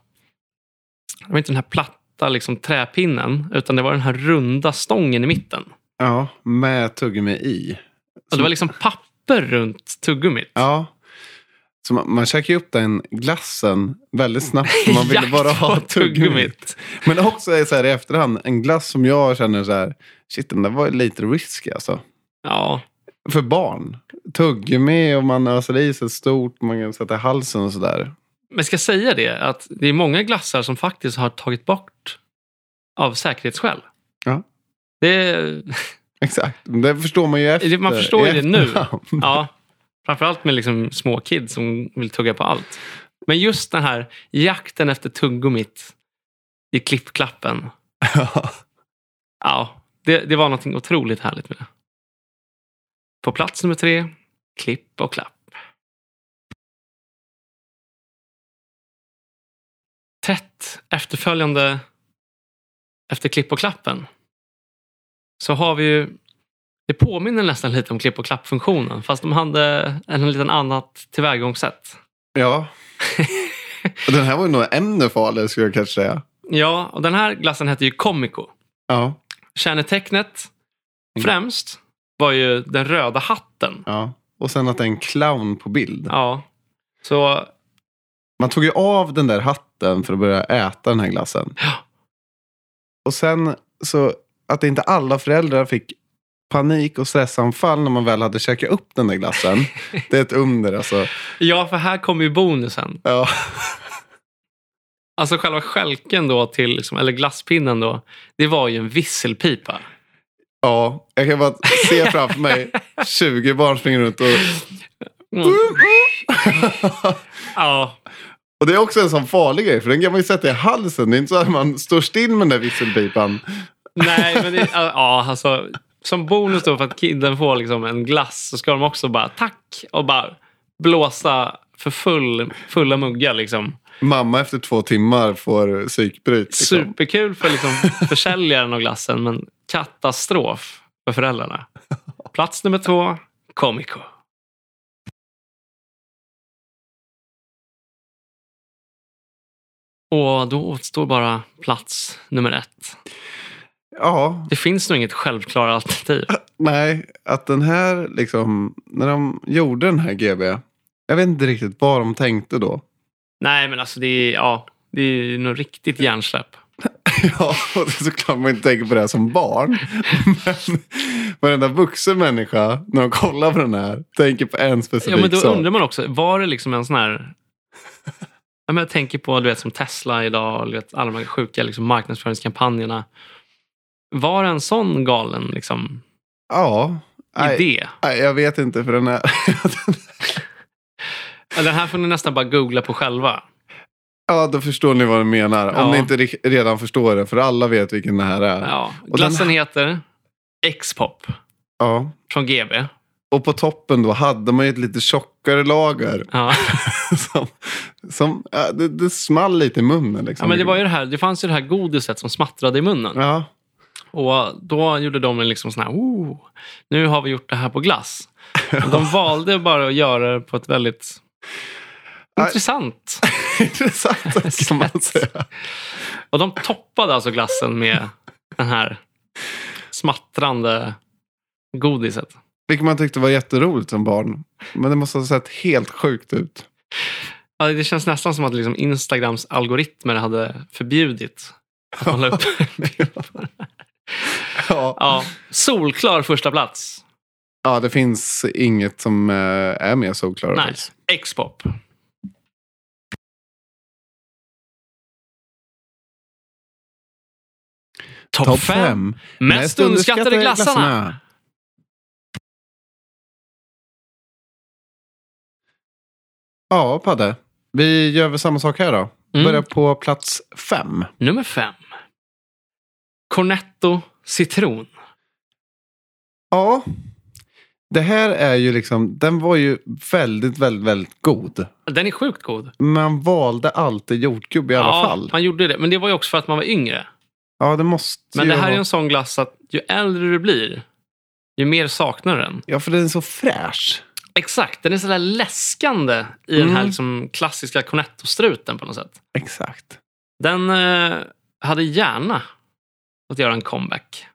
A: det var inte den här platta liksom, träpinnen, utan det var den här runda stången i mitten.
B: Ja, med tuggummi i.
A: Och det var liksom papper runt tuggummit.
B: Ja. Så man, man käkade ju upp den glassen väldigt snabbt. för
A: *laughs*
B: Man ville
A: Jakt
B: bara ha
A: på
B: tuggummit. Men också är så här i efterhand, en glass som jag känner så här, shit den där var lite risky alltså.
A: Ja,
B: För barn. Tuggummi och man öser i sig stort, man kan sätta i halsen och sådär.
A: men ska jag säga det, att det är många glassar som faktiskt har tagit bort av säkerhetsskäl.
B: Ja.
A: Det,
B: Exakt, det förstår man ju efter.
A: Man förstår ju
B: i
A: det nu.
B: efterhand. *laughs*
A: Ja, framförallt med liksom små kids som vill tugga på allt. Men just den här jakten efter tuggummit i klippklappen. Ja, det, det var något otroligt härligt med det. På plats nummer tre, klipp och klapp. 31 efterföljande efter klipp och klappen så har vi ju det påminner nästan lite om klipp och klapp-funktionen, fast de hade en liten annat tillvägagångssätt.
B: ja.
A: *laughs*
B: Och den här var ju nog ännu farligare skulle jag kanske säga.
A: Ja, och den här glassen hette ju Comico.
B: Ja.
A: Kännetecknet främst var ju den röda hatten.
B: ja. Och sen att det är en clown på bild.
A: Ja, så
B: Man tog ju av den där hatten för att börja äta den här glassen.
A: Ja.
B: Och sen så att inte alla föräldrar fick panik och stressanfall när man väl hade käkat upp den där glassen. Det är ett under alltså.
A: ja, för här kommer ju bonusen.
B: Ja.
A: Alltså själva skälken då, till, liksom, eller glasspinnen då, det var ju en visselpipa.
B: Ja, jag kan bara se framför mig 20 barn springer runt och...
A: Mm. ja,
B: Och det är också en sån farlig grej, för den kan man ju sätta i halsen. Det är inte så att man står still med den där visselpipan.
A: nej men det, ja, alltså. Som bonus då för att kidden får liksom en glass så ska de också bara tack och bara blåsa för full, fulla muggar. Liksom.
B: Mamma efter två timmar får psykbryt. Liksom.
A: Superkul för liksom, försäljaren av glassen men katastrof för föräldrarna. Plats nummer två, Comico. Och då återstår bara plats nummer ett.
B: Ja,
A: Det finns nog inget självklara alternativ.
B: Nej, att den här liksom, när de gjorde den här GB, jag vet inte riktigt vad de tänkte då. *laughs*
A: Nej, men alltså det är, ja, det är nog riktigt hjärnsläpp.
B: Ja, och det är såklart man inte tänker på det här som barn. *laughs* Men varenda vuxen människa, när de kollar på den här, tänker på en
A: Ja,
B: specifik
A: men då
B: sak.
A: undrar man också, var det liksom en sån här... Ja, men jag tänker på du vet, som Tesla idag, du vet, alla de här sjuka liksom, marknadsföringskampanjerna. Var det en sån galen liksom,
B: Ja, nej,
A: idé?
B: nej, jag vet inte för den här. *laughs*
A: Ja, Den här får ni nästan bara googla på själva.
B: ja, då förstår ni vad de menar. Om
A: Ja.
B: ni inte ri- redan förstår det, för alla vet vilken det här är.
A: Ja.
B: den
A: Glassen heter X-pop
B: Ja.
A: från GB.
B: Och på toppen då hade man ju ett lite tjockare lager.
A: *laughs* Ja.
B: *laughs* som, som, ja, det, det small lite i munnen. Liksom.
A: Ja, men det, var ju det, här, det fanns ju det här godiset som smattrade i munnen.
B: Ja, *laughs*
A: Och då gjorde de en liksom sån här, oh, nu har vi gjort det här på glass. Men
B: *laughs*
A: de valde bara att göra det på ett väldigt
B: Nej.
A: intressant *laughs*
B: intressant *laughs* kan man säga.
A: Och de toppade alltså glassen med den här smattrande godiset.
B: Vilket man tyckte var jätteroligt som barn. Men det måste ha sett helt sjukt ut. *laughs*
A: Ja, Det känns nästan som att liksom Instagrams algoritmer hade förbjudit att man la
B: *laughs*
A: upp.
B: Ja,
A: Ja, solklar första plats.
B: ja det finns inget som eh, är mer solklara.
A: Nej,
B: faktiskt.
A: X-pop. Topp
B: Topp
A: 5.
B: fem.
A: Mest, underskattade, glassarna.
B: Ja, Padde. Vi gör väl samma sak här då.
A: Mm.
B: Börjar på plats fem.
A: Nummer 5. Cornetto citron.
B: Ja. Det här är ju liksom, den var ju väldigt, väldigt, väldigt god.
A: Den är sjukt god.
B: Man valde alltid jordgubb i alla
A: ja,
B: fall.
A: man gjorde det. Men det var ju också för att man var yngre.
B: Ja, det måste
A: Men
B: ju
A: det här är
B: vara-
A: en sån glass att ju äldre du blir, ju mer saknar du den.
B: Ja, för den är så fräsch.
A: Exakt, den är sådär läskande i den här
B: Mm.
A: liksom klassiska cornetto-struten på något sätt.
B: Exakt.
A: Den eh, hade gärna fått göra en comeback.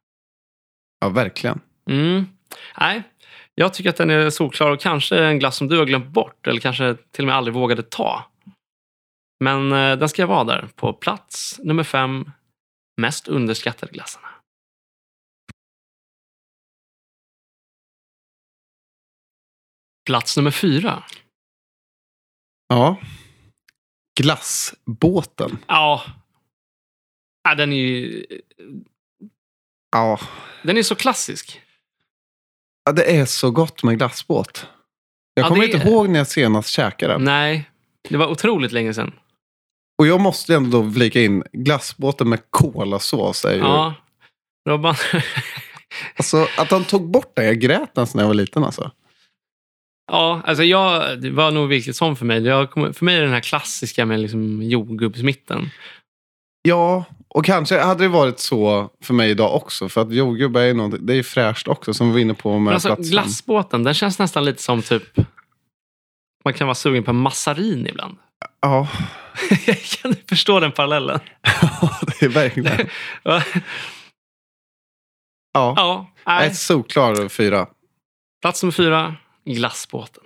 B: Ja, verkligen.
A: Mm. Nej, jag tycker att den är solklar och kanske en glass som du har glömt bort eller kanske till och med aldrig vågade ta. Men eh, den ska vara där på plats nummer fem, mest underskattade glassarna. Plats nummer fyra.
B: Ja. Glassbåten.
A: Ja, ja den är ju
B: Ja.
A: den är så klassisk.
B: ja, det är så gott med glassbåt. Jag
A: Ja,
B: kommer
A: det- Mm.
B: inte ihåg när jag senast käkade den.
A: Nej, det var otroligt länge sedan.
B: Och jag måste ändå då flika in, glassbåten med kolasås är ju...
A: Ja, Robban.
B: Alltså, att de tog bort det, jag grät nästan när jag var liten alltså.
A: Ja, alltså jag, det var nog vilket som för mig. Jag kom, för mig är det den här klassiska med liksom jordgubbsmitten.
B: Ja, och kanske hade det varit så för mig idag också. För att jordgubbar är ju något, det är ju fräscht också, som vi var inne på med
A: Men alltså,
B: platsen.
A: glassbåten, den känns nästan lite som typ... Man kan vara sugen på en massarin ibland. *laughs*
B: Ja, *laughs*
A: kan du förstå den parallellen?
B: det är verkligen.
A: ja,
B: Ja,
A: nej.
B: ett solklar fyra.
A: Plats nummer fyra, glassbåten.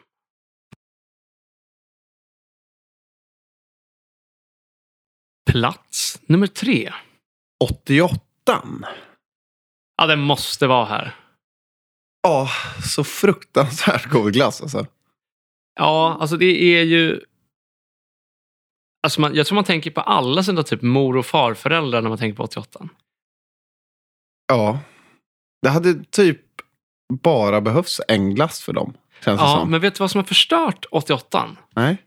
A: Plats nummer tre.
B: 88.
A: Ja, den måste vara här.
B: Ja, så fruktansvärt god glass alltså.
A: Ja, alltså det är ju... Alltså man, jag tror man tänker på alla sina typ mor och farföräldrar när man tänker på 88.
B: Ja. Det hade typ bara behövts en glass för dem. Känns det
A: Ja,
B: som.
A: men vet du vad som har förstört 88?
B: Nej.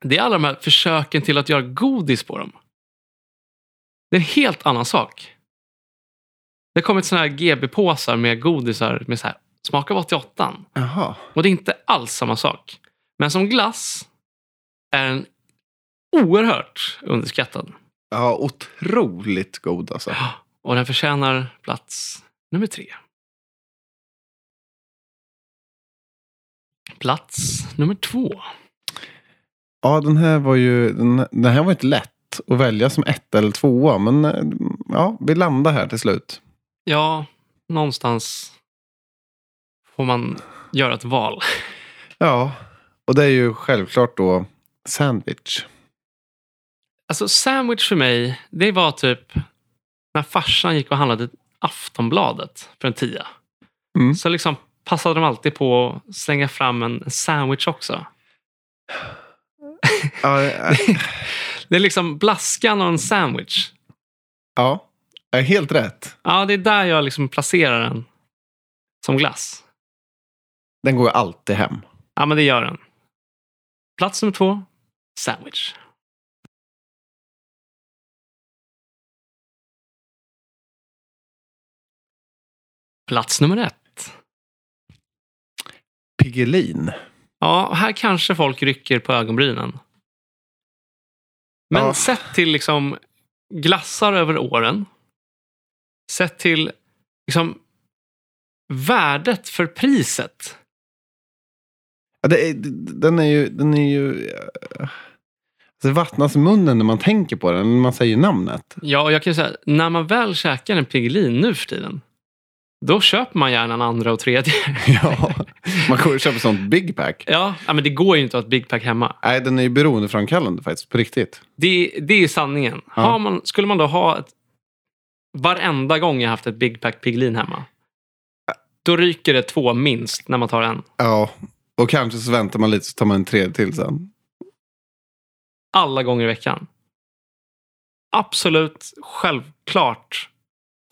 A: Det är alla de här försöken till att göra godis på dem. Det är en helt annan sak. Det har kommit såna här GB-påsar med godisar med så här, smak av 88.
B: Jaha.
A: Och det är inte alls samma sak. Men som glass är den oerhört underskattad.
B: Ja, otroligt god alltså.
A: Och den förtjänar plats nummer tre. Plats nummer två.
B: Ja, den här var ju den, den här var inte lätt att välja som ett eller tvåa. Men eh, ja, vi landar här till slut.
A: Ja, någonstans får man göra ett val.
B: Ja, och det är ju självklart då sandwich.
A: Alltså sandwich för mig, det var typ när farsan gick och handlade Aftonbladet för en tia.
B: Mm.
A: Så liksom passade de alltid på att slänga fram en en sandwich också.
B: Ja, *laughs* eh,
A: Det är liksom blaskan och en sandwich.
B: ja är helt rätt.
A: Ja, det är där jag liksom placerar den som glass.
B: Den går ju alltid hem.
A: Ja, men det gör den. Plats nummer två, sandwich. Plats nummer ett.
B: Piggelin.
A: Ja, här kanske folk rycker på ögonbrynen. Men
B: Ja.
A: sett till liksom glassar över åren. Sett till liksom värdet för priset.
B: Ja, det är, den är ju... Den är ju eh, det vattnas munnen när man tänker på den, när man säger namnet.
A: Ja, och jag kan ju säga, när man väl käkar en Piggelin nu för tiden, då köper man gärna en andra och tredje.
B: *laughs* Ja. Man går och köper sånt Big Pack.
A: ja, ja, men det går ju inte att ha ett Big Pack hemma.
B: Nej, den är ju beroendeframkallande faktiskt, på riktigt.
A: Det, det är sanningen.
B: Ja.
A: Har man, skulle man då ha ett... Varenda gång jag haft ett Big Pack Piggelin hemma, då ryker det två minst när man tar en.
B: Ja, och kanske så väntar man lite så tar man en tredje till sen.
A: Alla gånger i veckan. Absolut självklart,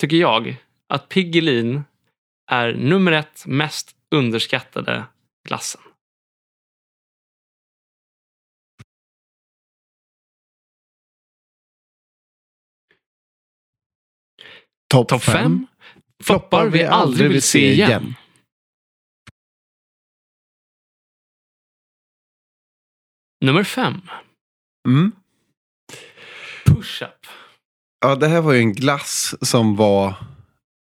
A: tycker jag, att Piggelin är nummer ett mest underskattade glassen.
B: Topp
A: Topp fem floppar vi aldrig vill se igen. Nummer fem,
B: Mm.
A: push-up.
B: Ja, det här var ju en glass som var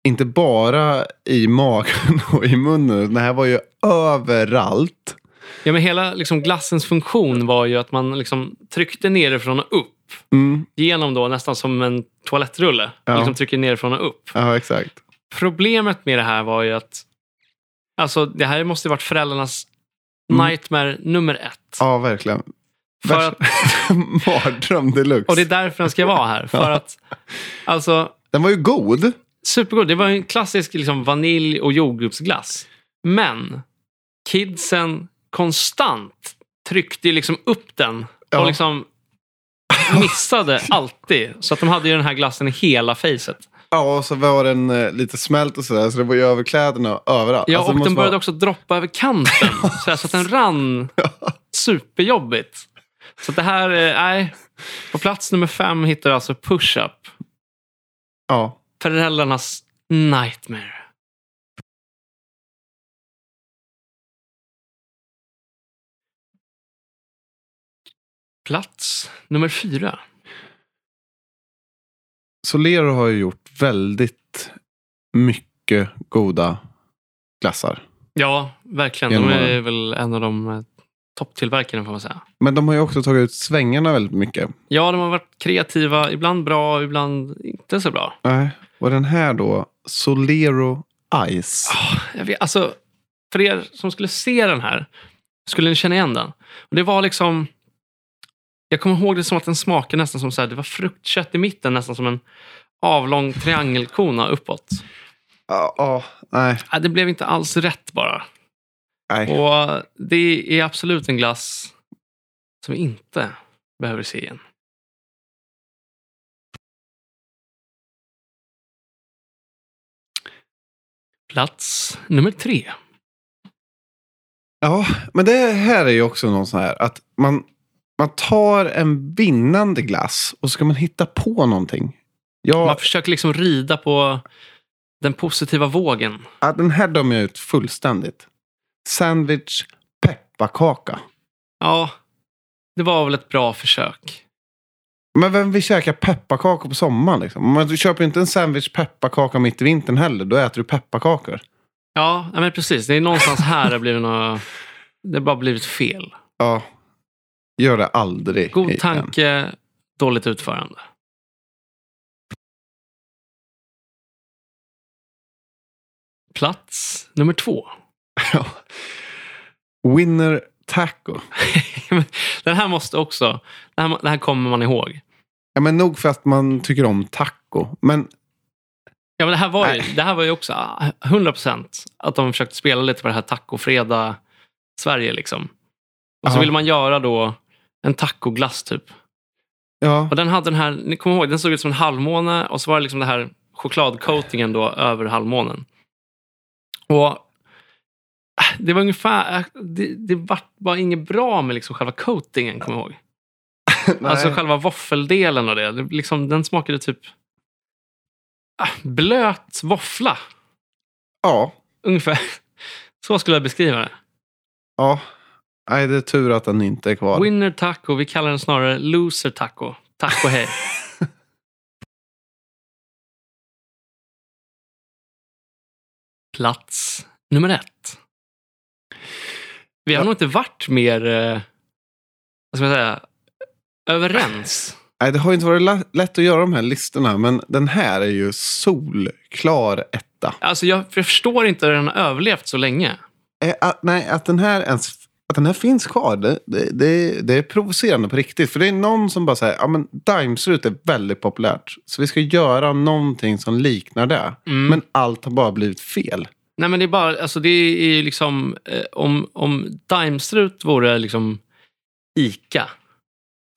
B: inte bara i magen *laughs* och i munnen. Det här var ju överallt.
A: Ja, men hela liksom, glassens funktion var ju att man liksom, tryckte nerifrån och upp.
B: Mm.
A: Genom då nästan som en toalettrulle.
B: Ja.
A: Liksom trycker nerifrån och upp.
B: Ja, exakt.
A: Problemet med det här var ju att... Alltså, det här måste ju varit föräldrarnas
B: Mm.
A: nightmare nummer ett.
B: Ja, verkligen.
A: för
B: Värst-
A: att,
B: *laughs* Mardröm deluxe.
A: och det är därför den ska vara *laughs* här. För
B: Ja.
A: att... Alltså,
B: Den var ju god.
A: supergod. Det var ju en klassisk liksom, vanilj och jordgubbsglass. Men kidsen konstant tryckte ju liksom upp den
B: Ja.
A: och liksom
B: *laughs*
A: missade alltid. Så att de hade ju den här glassen i hela facet.
B: Ja, och så var den eh, lite smält och sådär. Så det var ju över kläderna överallt.
A: Ja,
B: Alltså,
A: och
B: det måste
A: den började
B: vara-
A: också droppa över kanten. så, här, så att den
B: *laughs*
A: rann superjobbigt. Så att det här, eh, nej. På plats nummer fem hittar du alltså push-up.
B: Ja.
A: Föräldrarnas nightmare. Plats nummer fyra.
B: Solero har ju gjort väldigt mycket goda glassar.
A: Ja, verkligen.
B: Genom
A: De är
B: åren.
A: väl en av de eh, topptillverkarna får man säga.
B: Men de har ju också tagit ut svängarna väldigt mycket.
A: Ja, de har varit kreativa. Ibland bra, ibland inte så bra.
B: Nej. Och den här då, Solero Ice.
A: Jag vet, alltså, för er som skulle se den här, skulle ni känna igen den? Och det var liksom... Jag kommer ihåg det som att den smakade nästan som så här, det var fruktkött i mitten, nästan som en avlång triangelkona uppåt.
B: Ja, ja, nej.
A: Nej, det blev inte alls rätt bara.
B: nej.
A: Och det är absolut en glass som inte behöver se igen. Plats nummer tre.
B: Ja, men det här är ju också någon sån här att man, man tar en vinnande glass och ska man hitta på någonting.
A: Man
B: Ja,
A: försöker liksom rida på den positiva vågen.
B: ja, den här dömer jag ut fullständigt. Sandwich pepparkaka.
A: Ja, det var väl ett bra försök.
B: Men vem vill käka pepparkakor på sommaren? Liksom? Men du köper ju inte en sandwich pepparkaka mitt i vintern heller. Då äter du pepparkakor.
A: Ja, ja, men precis. Det är någonstans här det blivit något... Det har bara blivit fel.
B: Ja, gör det aldrig.
A: God
B: igen.
A: tanke, dåligt utförande. Plats nummer två.
B: *laughs*
A: *laughs*
B: Ja. Winner taco.
A: den här måste också... Den här, den här kommer man ihåg.
B: Ja, men nog för att man tycker om taco. Men
A: Ja, men det, här var ju,
B: Nej.
A: det här var ju också ah, 100% att de försökte spela lite på det här tacofredag-Sverige. Liksom. Och så
B: Ja.
A: ville man göra då en tacoglass typ.
B: ja,
A: Och den hade den här, ni kommer ihåg, den såg ut som en halvmåne och så var det liksom den här chokladcoatingen då över halvmånen. Och äh, det var ungefär, äh, det, det var bara inget bra med liksom själva coatingen, kommer jag ihåg.
B: nej.
A: Alltså själva våffeldelen av det, det liksom, den smakade typ äh, blöt våffla,
B: ja.
A: ungefär. *laughs* Så skulle jag beskriva det.
B: Ja. Nej, det är tur att den inte är kvar.
A: Winner taco, vi kallar den snarare loser taco. Taco hej. Plats nummer ett. Vi har nog inte varit mer, eh, vad ska man säga, överens.
B: Nej, det har ju inte varit la- lätt att göra de här listorna, men den här är ju solklar etta.
A: Alltså jag, jag förstår inte hur den har överlevt så länge.
B: Eh, Att, nej, att den här ens... Att den här finns kvar, det, det, det, det är provocerande på riktigt. För det är någon som bara säger, ja men daimsrut är väldigt populärt. Så vi ska göra någonting som liknar det.
A: Mm.
B: Men allt har bara blivit fel.
A: Nej, men det är bara, alltså det är ju liksom, eh, om, om Daimstrut vore liksom ICA,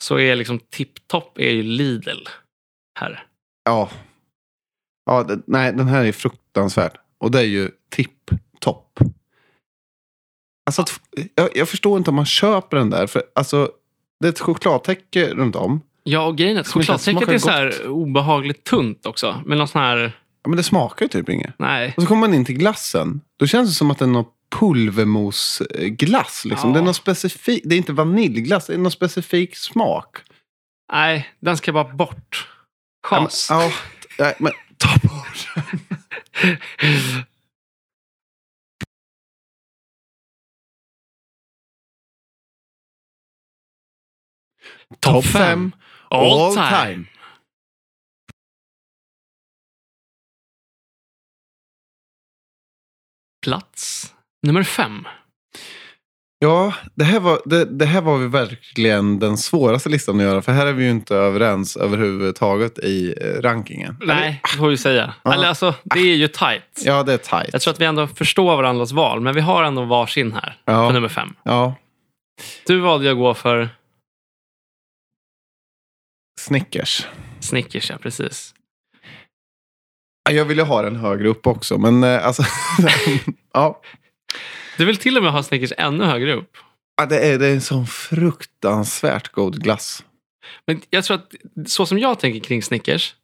A: så är liksom TipTop är ju Lidl här.
B: Ja. ja det, nej, den här är fruktansvärd. Och det är ju tipp-topp. Alltså, att, jag, jag förstår inte om man köper den där. För alltså, det är ett chokladtäcke runt om.
A: Ja, och grejen är att
B: Som inte ens
A: chokladtäcket
B: smakar
A: är så
B: gott.
A: här obehagligt tunt också. Med någon sån här,
B: Ja, men det smakar ju typ inget.
A: nej.
B: Och så kommer man in till glassen. Då känns det som att det är någon pulvermosglass. Liksom.
A: Ja.
B: Det, är någon specifik, det är inte vaniljglass, det är någon specifik smak.
A: Nej, den ska bara bort. Schas.
B: Ja, men, ja, nej, men ta bort den.
A: Topp fem. All, time. Plats nummer fem.
B: Ja, det här, var, det, det här var ju verkligen den svåraste listan att göra. För här är vi ju inte överens överhuvudtaget i eh, rankingen.
A: Nej, det får vi säga.
B: Ja.
A: Eller alltså, det är ju tight.
B: Ja, det är tajt.
A: Jag tror att vi ändå förstår varandras val, men vi har ändå varsin här.
B: Ja.
A: På nummer fem.
B: Ja,
A: Du valde ju att gå för
B: Snickers.
A: Snickers, ja precis.
B: Ja, Jag ville ha den högre upp också, men eh, alltså... *laughs* ja.
A: Du vill till och med ha Snickers ännu högre upp.
B: Ja, det är, det är en sån fruktansvärt god glass.
A: Men jag tror att så som jag tänker kring Snickers,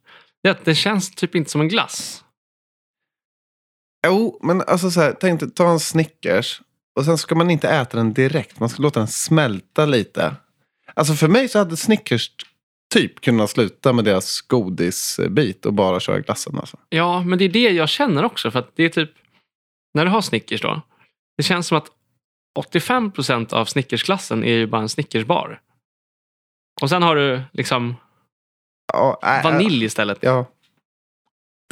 A: det är att det känns typ inte som en glass.
B: Jo, men alltså så här, tänk dig, ta en Snickers och sen ska man inte äta den direkt. Man ska låta den smälta lite. Alltså för mig så hade Snickers typ kunnat sluta med deras godisbit och bara köra glassen. Alltså.
A: Ja, men det är det jag känner också. För att det är typ, när du har Snickers då, det känns som att 85% av Snickersglassen är ju bara en Snickersbar. Och sen har du liksom
B: Ja, äh, äh,
A: vanilj istället.
B: Ja.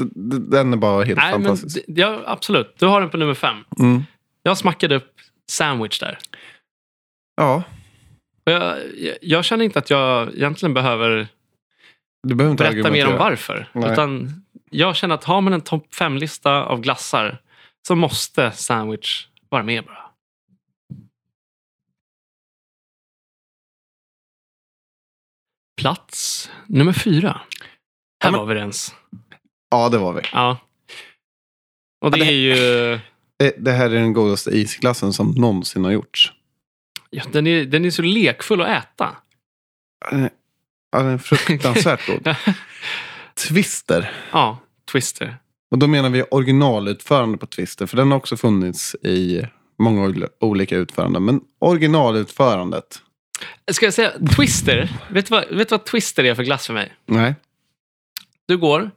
B: D- d- Den är bara helt
A: Nej, men
B: fantastisk.
A: d- ja, absolut. Du har den på nummer fem.
B: Mm.
A: Jag smackade upp sandwich där.
B: Ja,
A: Och jag, jag, jag känner inte att jag egentligen behöver
B: du behöver inte
A: berätta mer om
B: argumentera.
A: varför.
B: Nej.
A: Utan jag känner att har man en topp fem-lista av glassar så måste sandwich vara med bara. plats nummer fyra. Här
B: Ja, men-
A: var vi överens.
B: Ja, det var vi.
A: Ja. Och det
B: Ja, det-
A: är ju...
B: Eh, Det, det här är den godaste isglassen som någonsin har gjorts.
A: Ja, den, är, den är så lekfull att äta.
B: Eh, Ja, den är fruktansvärt god.
A: *laughs*
B: Twister.
A: ja, Twister.
B: Och då menar vi originalutförande på Twister. För den har också funnits i många ol- olika utföranden. Men originalutförandet.
A: Ska jag säga Twister? Vet du vad, vet du vad Twister är för glass för mig?
B: Nej.
A: Du går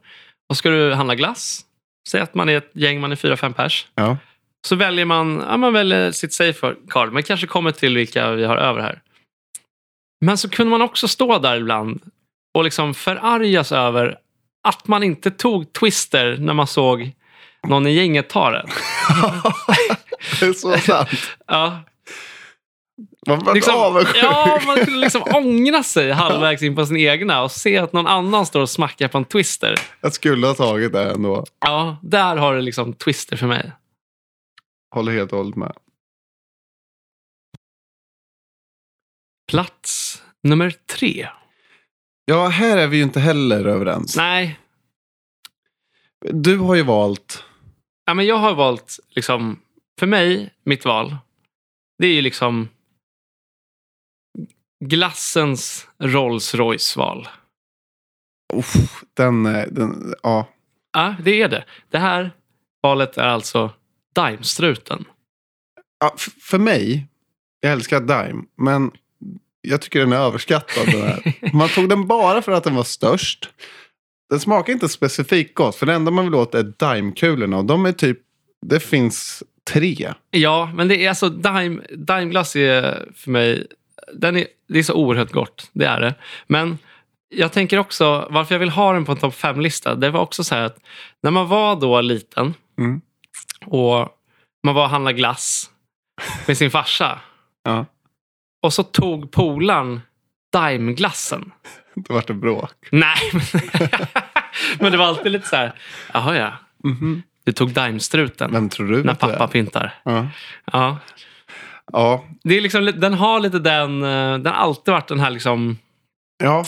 A: och ska du handla glass. Säg att man är ett gäng, man är fyra, fem pers.
B: Ja.
A: Så väljer man, ja, man väljer sitt safe card, men kanske kommer till vilka vi har över här. Men så kunde man också stå där ibland och liksom förargas över att man inte tog Twister när man såg någon i gänget ta den.
B: *laughs* Det är så sant.
A: Ja,
B: Man blir
A: liksom,
B: avundsjuk.
A: ja, man skulle liksom ångra sig halvvägs in på sin egna och se att någon annan står och smackar på en Twister.
B: Jag skulle ha tagit det ändå.
A: Ja, där har du liksom Twister för mig.
B: Håller helt och hållet med.
A: Plats nummer tre.
B: Ja, här är vi ju inte heller överens.
A: Nej,
B: Du har ju valt...
A: ja, men jag har valt, liksom, för mig, mitt val, det är ju liksom glassens Rolls Royce-val.
B: Uff, den, eh, den... Ja.
A: Ja, det är det. Det här valet är alltså Daimstruten.
B: Ja, f- för mig, jag älskar Dime, men jag tycker den är överskattad.
A: *laughs*
B: Den här. Man tog den bara för att den var störst. Den smakar inte specifikt gott, för det enda man vill åt är Dime-kulorna. Och de är typ, det finns tre.
A: Ja, men det är alltså Dime, Dimeglass är för mig, den är, det är så oerhört gott. Det är det. Men jag tänker också, varför jag vill ha den på en topp 5-lista, det var också så här att när man var då liten
B: Mm.
A: och man var och handlade glass med sin farsa
B: Ja,
A: och så tog polaren Dimeglassen.
B: det vart ett bråk.
A: Nej, *laughs* men, men det var alltid lite så här, jaha ja,
B: Mhm.
A: du tog Dimestruten
B: Vem tror du
A: när
B: att det är?
A: pappa pyntar.
B: Ja.
A: Ja.
B: Ja.
A: Det är liksom, den har lite den, eh, den har alltid varit den här liksom,
B: ja.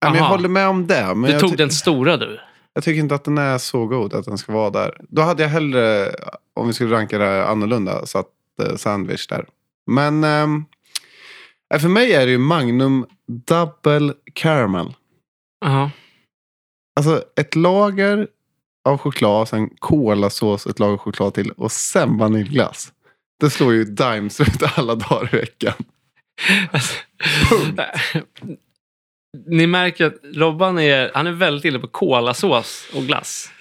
B: ja men jag
A: Aha.
B: håller med om det. Men
A: du
B: jag,
A: tog
B: ty-
A: den stora du.
B: jag tycker inte att den är så god att den ska vara där. Då hade jag hellre, om vi skulle ranka det här annorlunda, satt eh, Sandwich där. Men ehm, eh, för mig är det ju Magnum Double Caramel.
A: Ja, *laughs*
B: Alltså ett lager av choklad, sen kolasås, ett lager choklad till och sen vaniljglass. Det slår ju dimes ut alla dagar i veckan.
A: Alltså, Ni märker att Robban är, han är väldigt inne på kolasås och glass.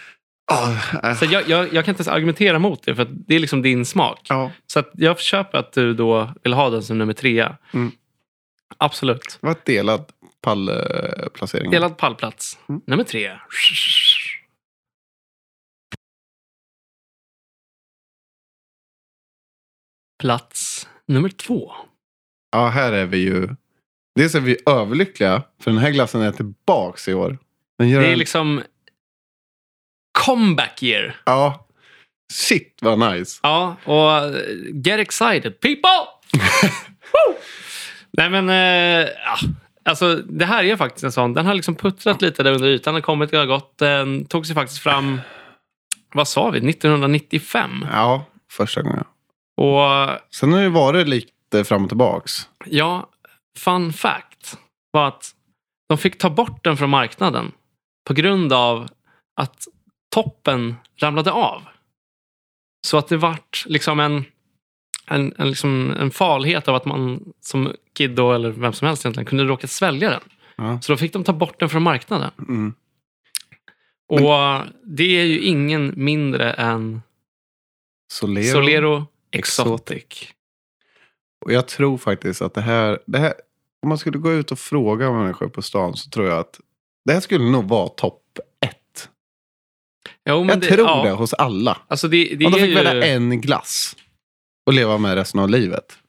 B: Ah, eh,
A: Så jag, jag, jag kan inte ens argumentera mot det, för att det är liksom din smak.
B: Ja,
A: Så att jag köper att du då vill ha den som nummer trea.
B: Mm.
A: Absolut.
B: det var ett delad pallplacering.
A: Delad pallplats.
B: Mm.
A: Nummer tre. Plats nummer två.
B: Ja, här är vi ju... Dels är vi överlyckliga, för den här glassen är tillbaks i år. Den gör
A: Det är
B: en-
A: liksom comeback year.
B: Ja. Shit vad nice.
A: Ja, och eh, get excited people! Woo! Nej men, eh, ja. alltså det här är faktiskt en sån. Den har liksom puttrat lite där under ytan. Den kommit och gått. Den tog sig faktiskt fram, vad sa vi, 1995.
B: Ja, första gången.
A: Och
B: Sen har det ju varit lite fram och tillbaks.
A: ja, fun fact var att de fick ta bort den från marknaden på grund av att toppen ramlade av. Så att det vart liksom en, en, en, liksom en farlighet av att man som kid då, eller vem som helst egentligen kunde råka svälja den.
B: Ja.
A: Så då fick de ta bort den från marknaden.
B: Mm.
A: Och eh, det är ju ingen mindre än
B: Solero.
A: Solero
B: Exotic.
A: Exotic.
B: Och jag tror faktiskt att det här, det här... Om man skulle gå ut och fråga människor på stan så tror jag att det här skulle nog vara topp ett.
A: Jo, men
B: jag tror
A: ja.
B: det hos alla.
A: Alltså det, det
B: Om de
A: är
B: fick
A: ju...
B: välja en glass och leva med resten av livet.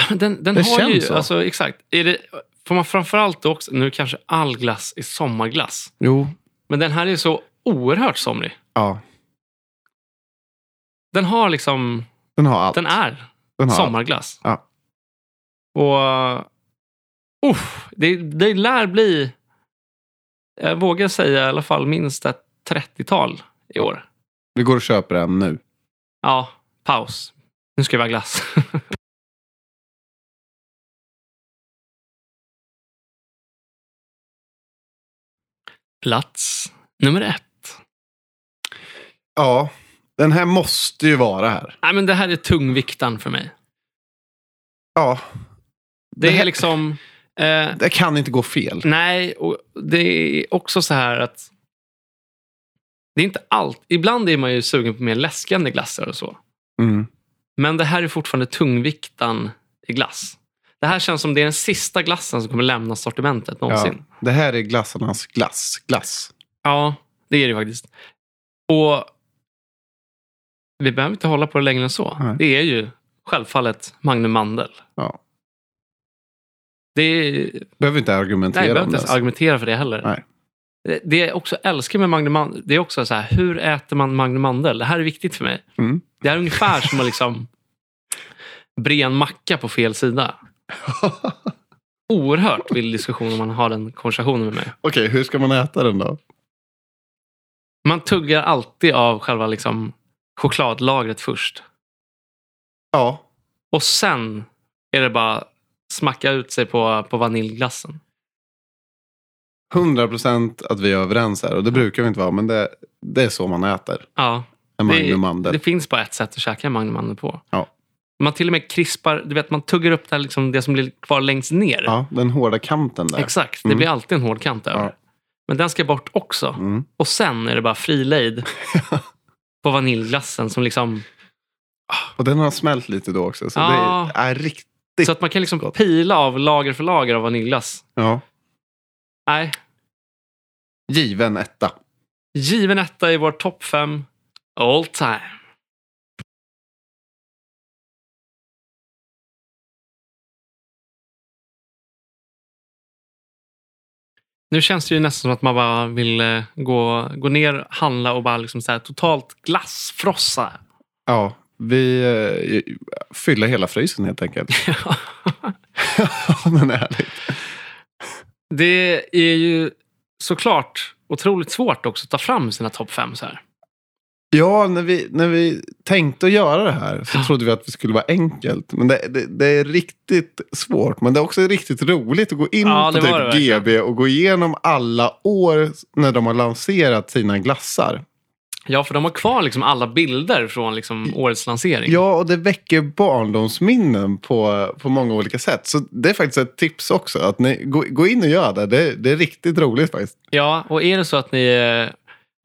A: Ja, men *laughs* Den, den
B: Det
A: har
B: känns
A: ju,
B: så.
A: Alltså, exakt. Är det, får man framförallt också, nu kanske all glass är sommarglass,
B: Jo.
A: men den här är så oerhört somrig.
B: Ja,
A: Den har liksom,
B: den har allt.
A: den är
B: Den har allt.
A: sommarglass.
B: Ja.
A: uh, Och, uff, det, det lär bli jag vågar säga i alla fall minst ett 30-tal i år.
B: Vi går och köper en nu.
A: Ja, paus. Nu ska jag ha glass. *laughs* Plats nummer ett.
B: Ja, den här måste ju vara här.
A: Nej, men det här är tungviktan för mig.
B: Ja,
A: Det,
B: Det här-
A: är liksom... Eh,
B: det kan inte gå fel.
A: nej, och det är också så här att... Det är inte allt. Ibland är man ju sugen på mer läskande glassar och så.
B: Mm.
A: Men det här är fortfarande tungviktan i glass. Det här känns som det är den sista glassen som kommer lämna sortimentet
B: Ja,
A: någonsin.
B: det här är glassarnas glass. glass.
A: Ja, det är det faktiskt. Och vi behöver inte hålla på det längre än så.
B: Nej.
A: Det är ju självfallet Magnum Mandel.
B: Ja.
A: Det är,
B: Behöver inte
A: nej, jag
B: argumentera
A: behöver
B: om
A: inte
B: det.
A: ens argumentera för det heller.
B: Nej.
A: Det- Det jag också älskar med Magnum Mandel, det är också så här, hur äter man Magnum Mandel? Det här är viktigt för mig.
B: Mm.
A: Det här är ungefär som att liksom *laughs* bre en macka på fel sida. Oerhört vild diskussion om man har den konversationen med mig.
B: *laughs* Okej, hur ska man äta den då?
A: Man tuggar alltid av själva liksom chokladlagret först.
B: Ja,
A: Och sen är det bara smacka ut sig på, på vaniljglassen.
B: 100 procent att vi är överens här. Och det brukar vi inte vara, men det, det är så man äter.
A: Ja,
B: En
A: det,
B: Magnum Mandel.
A: det finns bara ett sätt att käka en Magnum Mandel på.
B: Ja.
A: Man till och med krispar, du vet, man tuggar upp det, här liksom, det som blir kvar längst ner.
B: Ja, den hårda kanten där.
A: Exakt, det
B: Mm.
A: blir alltid en hård kant över.
B: Ja.
A: Men den ska bort också.
B: Mm.
A: Och sen är det bara
B: *laughs*
A: frilejd på vaniljglassen. Som liksom,
B: Och den har smält lite då också. Så
A: Ja.
B: det är riktigt... Det-
A: så att man kan liksom
B: gott.
A: pila av lager för lager av vaniljglass.
B: Ja.
A: Nej,
B: Given etta.
A: given etta i vår topp fem all time. Nu känns det ju nästan som att man bara vill eh, gå, gå ner, handla och bara liksom så här totalt glassfrossa.
B: Ja, vi eh, fyller hela frysen
A: *laughs*
B: helt enkelt. *laughs* men ärligt.
A: Det är ju såklart otroligt svårt också att ta fram sina topp fem så här.
B: Ja, när vi, när vi tänkte att göra det här så trodde vi att det skulle vara enkelt. Men det, det, det är riktigt svårt. Men det är också riktigt roligt att gå in
A: Ja,
B: på
A: det var det
B: typ
A: verkligen.
B: GB och gå igenom alla år när de har lanserat sina glassar.
A: Ja, för de har kvar liksom alla bilder från liksom årets lansering.
B: Ja, och det väcker barndomsminnen på, på många olika sätt. Så det är faktiskt ett tips också. Att ni, gå, gå in och gör det. det. Det är riktigt roligt faktiskt.
A: Ja, och är det så att ni är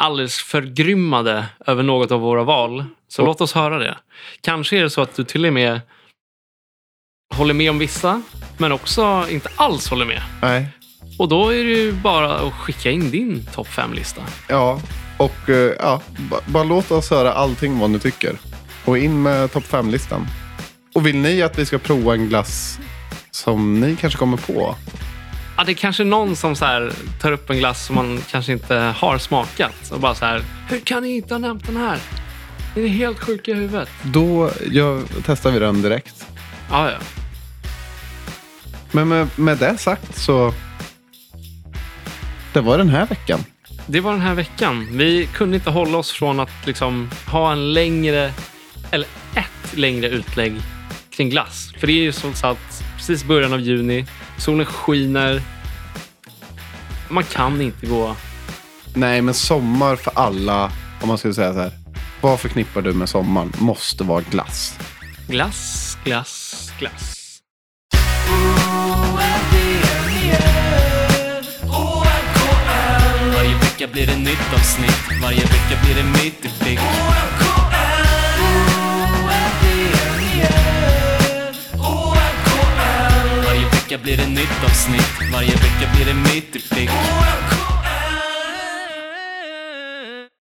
A: alldeles förgrymmade över något av våra val, så låt oss höra det. Kanske är det så att du till och med håller med om vissa, men också inte alls håller med.
B: Nej.
A: Och då är det ju bara att skicka in din topp fem-lista.
B: Ja, och eh, ja, ba- bara låt oss höra allting vad ni tycker. Och in med topp 5-listan. Och vill ni att vi ska prova en glass som ni kanske kommer på?
A: Ja, det är kanske någon som så här tar upp en glass som man kanske inte har smakat och bara så här, hur kan ni inte ha nämnt den här? Ni är helt sjuka i huvudet.
B: Då gör, testar vi den direkt.
A: Ja, ja.
B: Men med, med det sagt så... Det var den här veckan.
A: Det var den här veckan. Vi kunde inte hålla oss från att liksom ha en längre, eller ett längre utlägg kring glass. För det är ju som sagt precis början av juni. Solen skiner. Man kan inte gå...
B: Nej, men sommar för alla, om man skulle säga så här. Vad förknippar du med sommaren? Måste vara glass.
A: Glass, glass, glass.
C: Varje vecka blir det nytt avsnitt, varje vecka blir det mitt i prick Varje vecka blir det nytt avsnitt, varje vecka blir det mitt i prick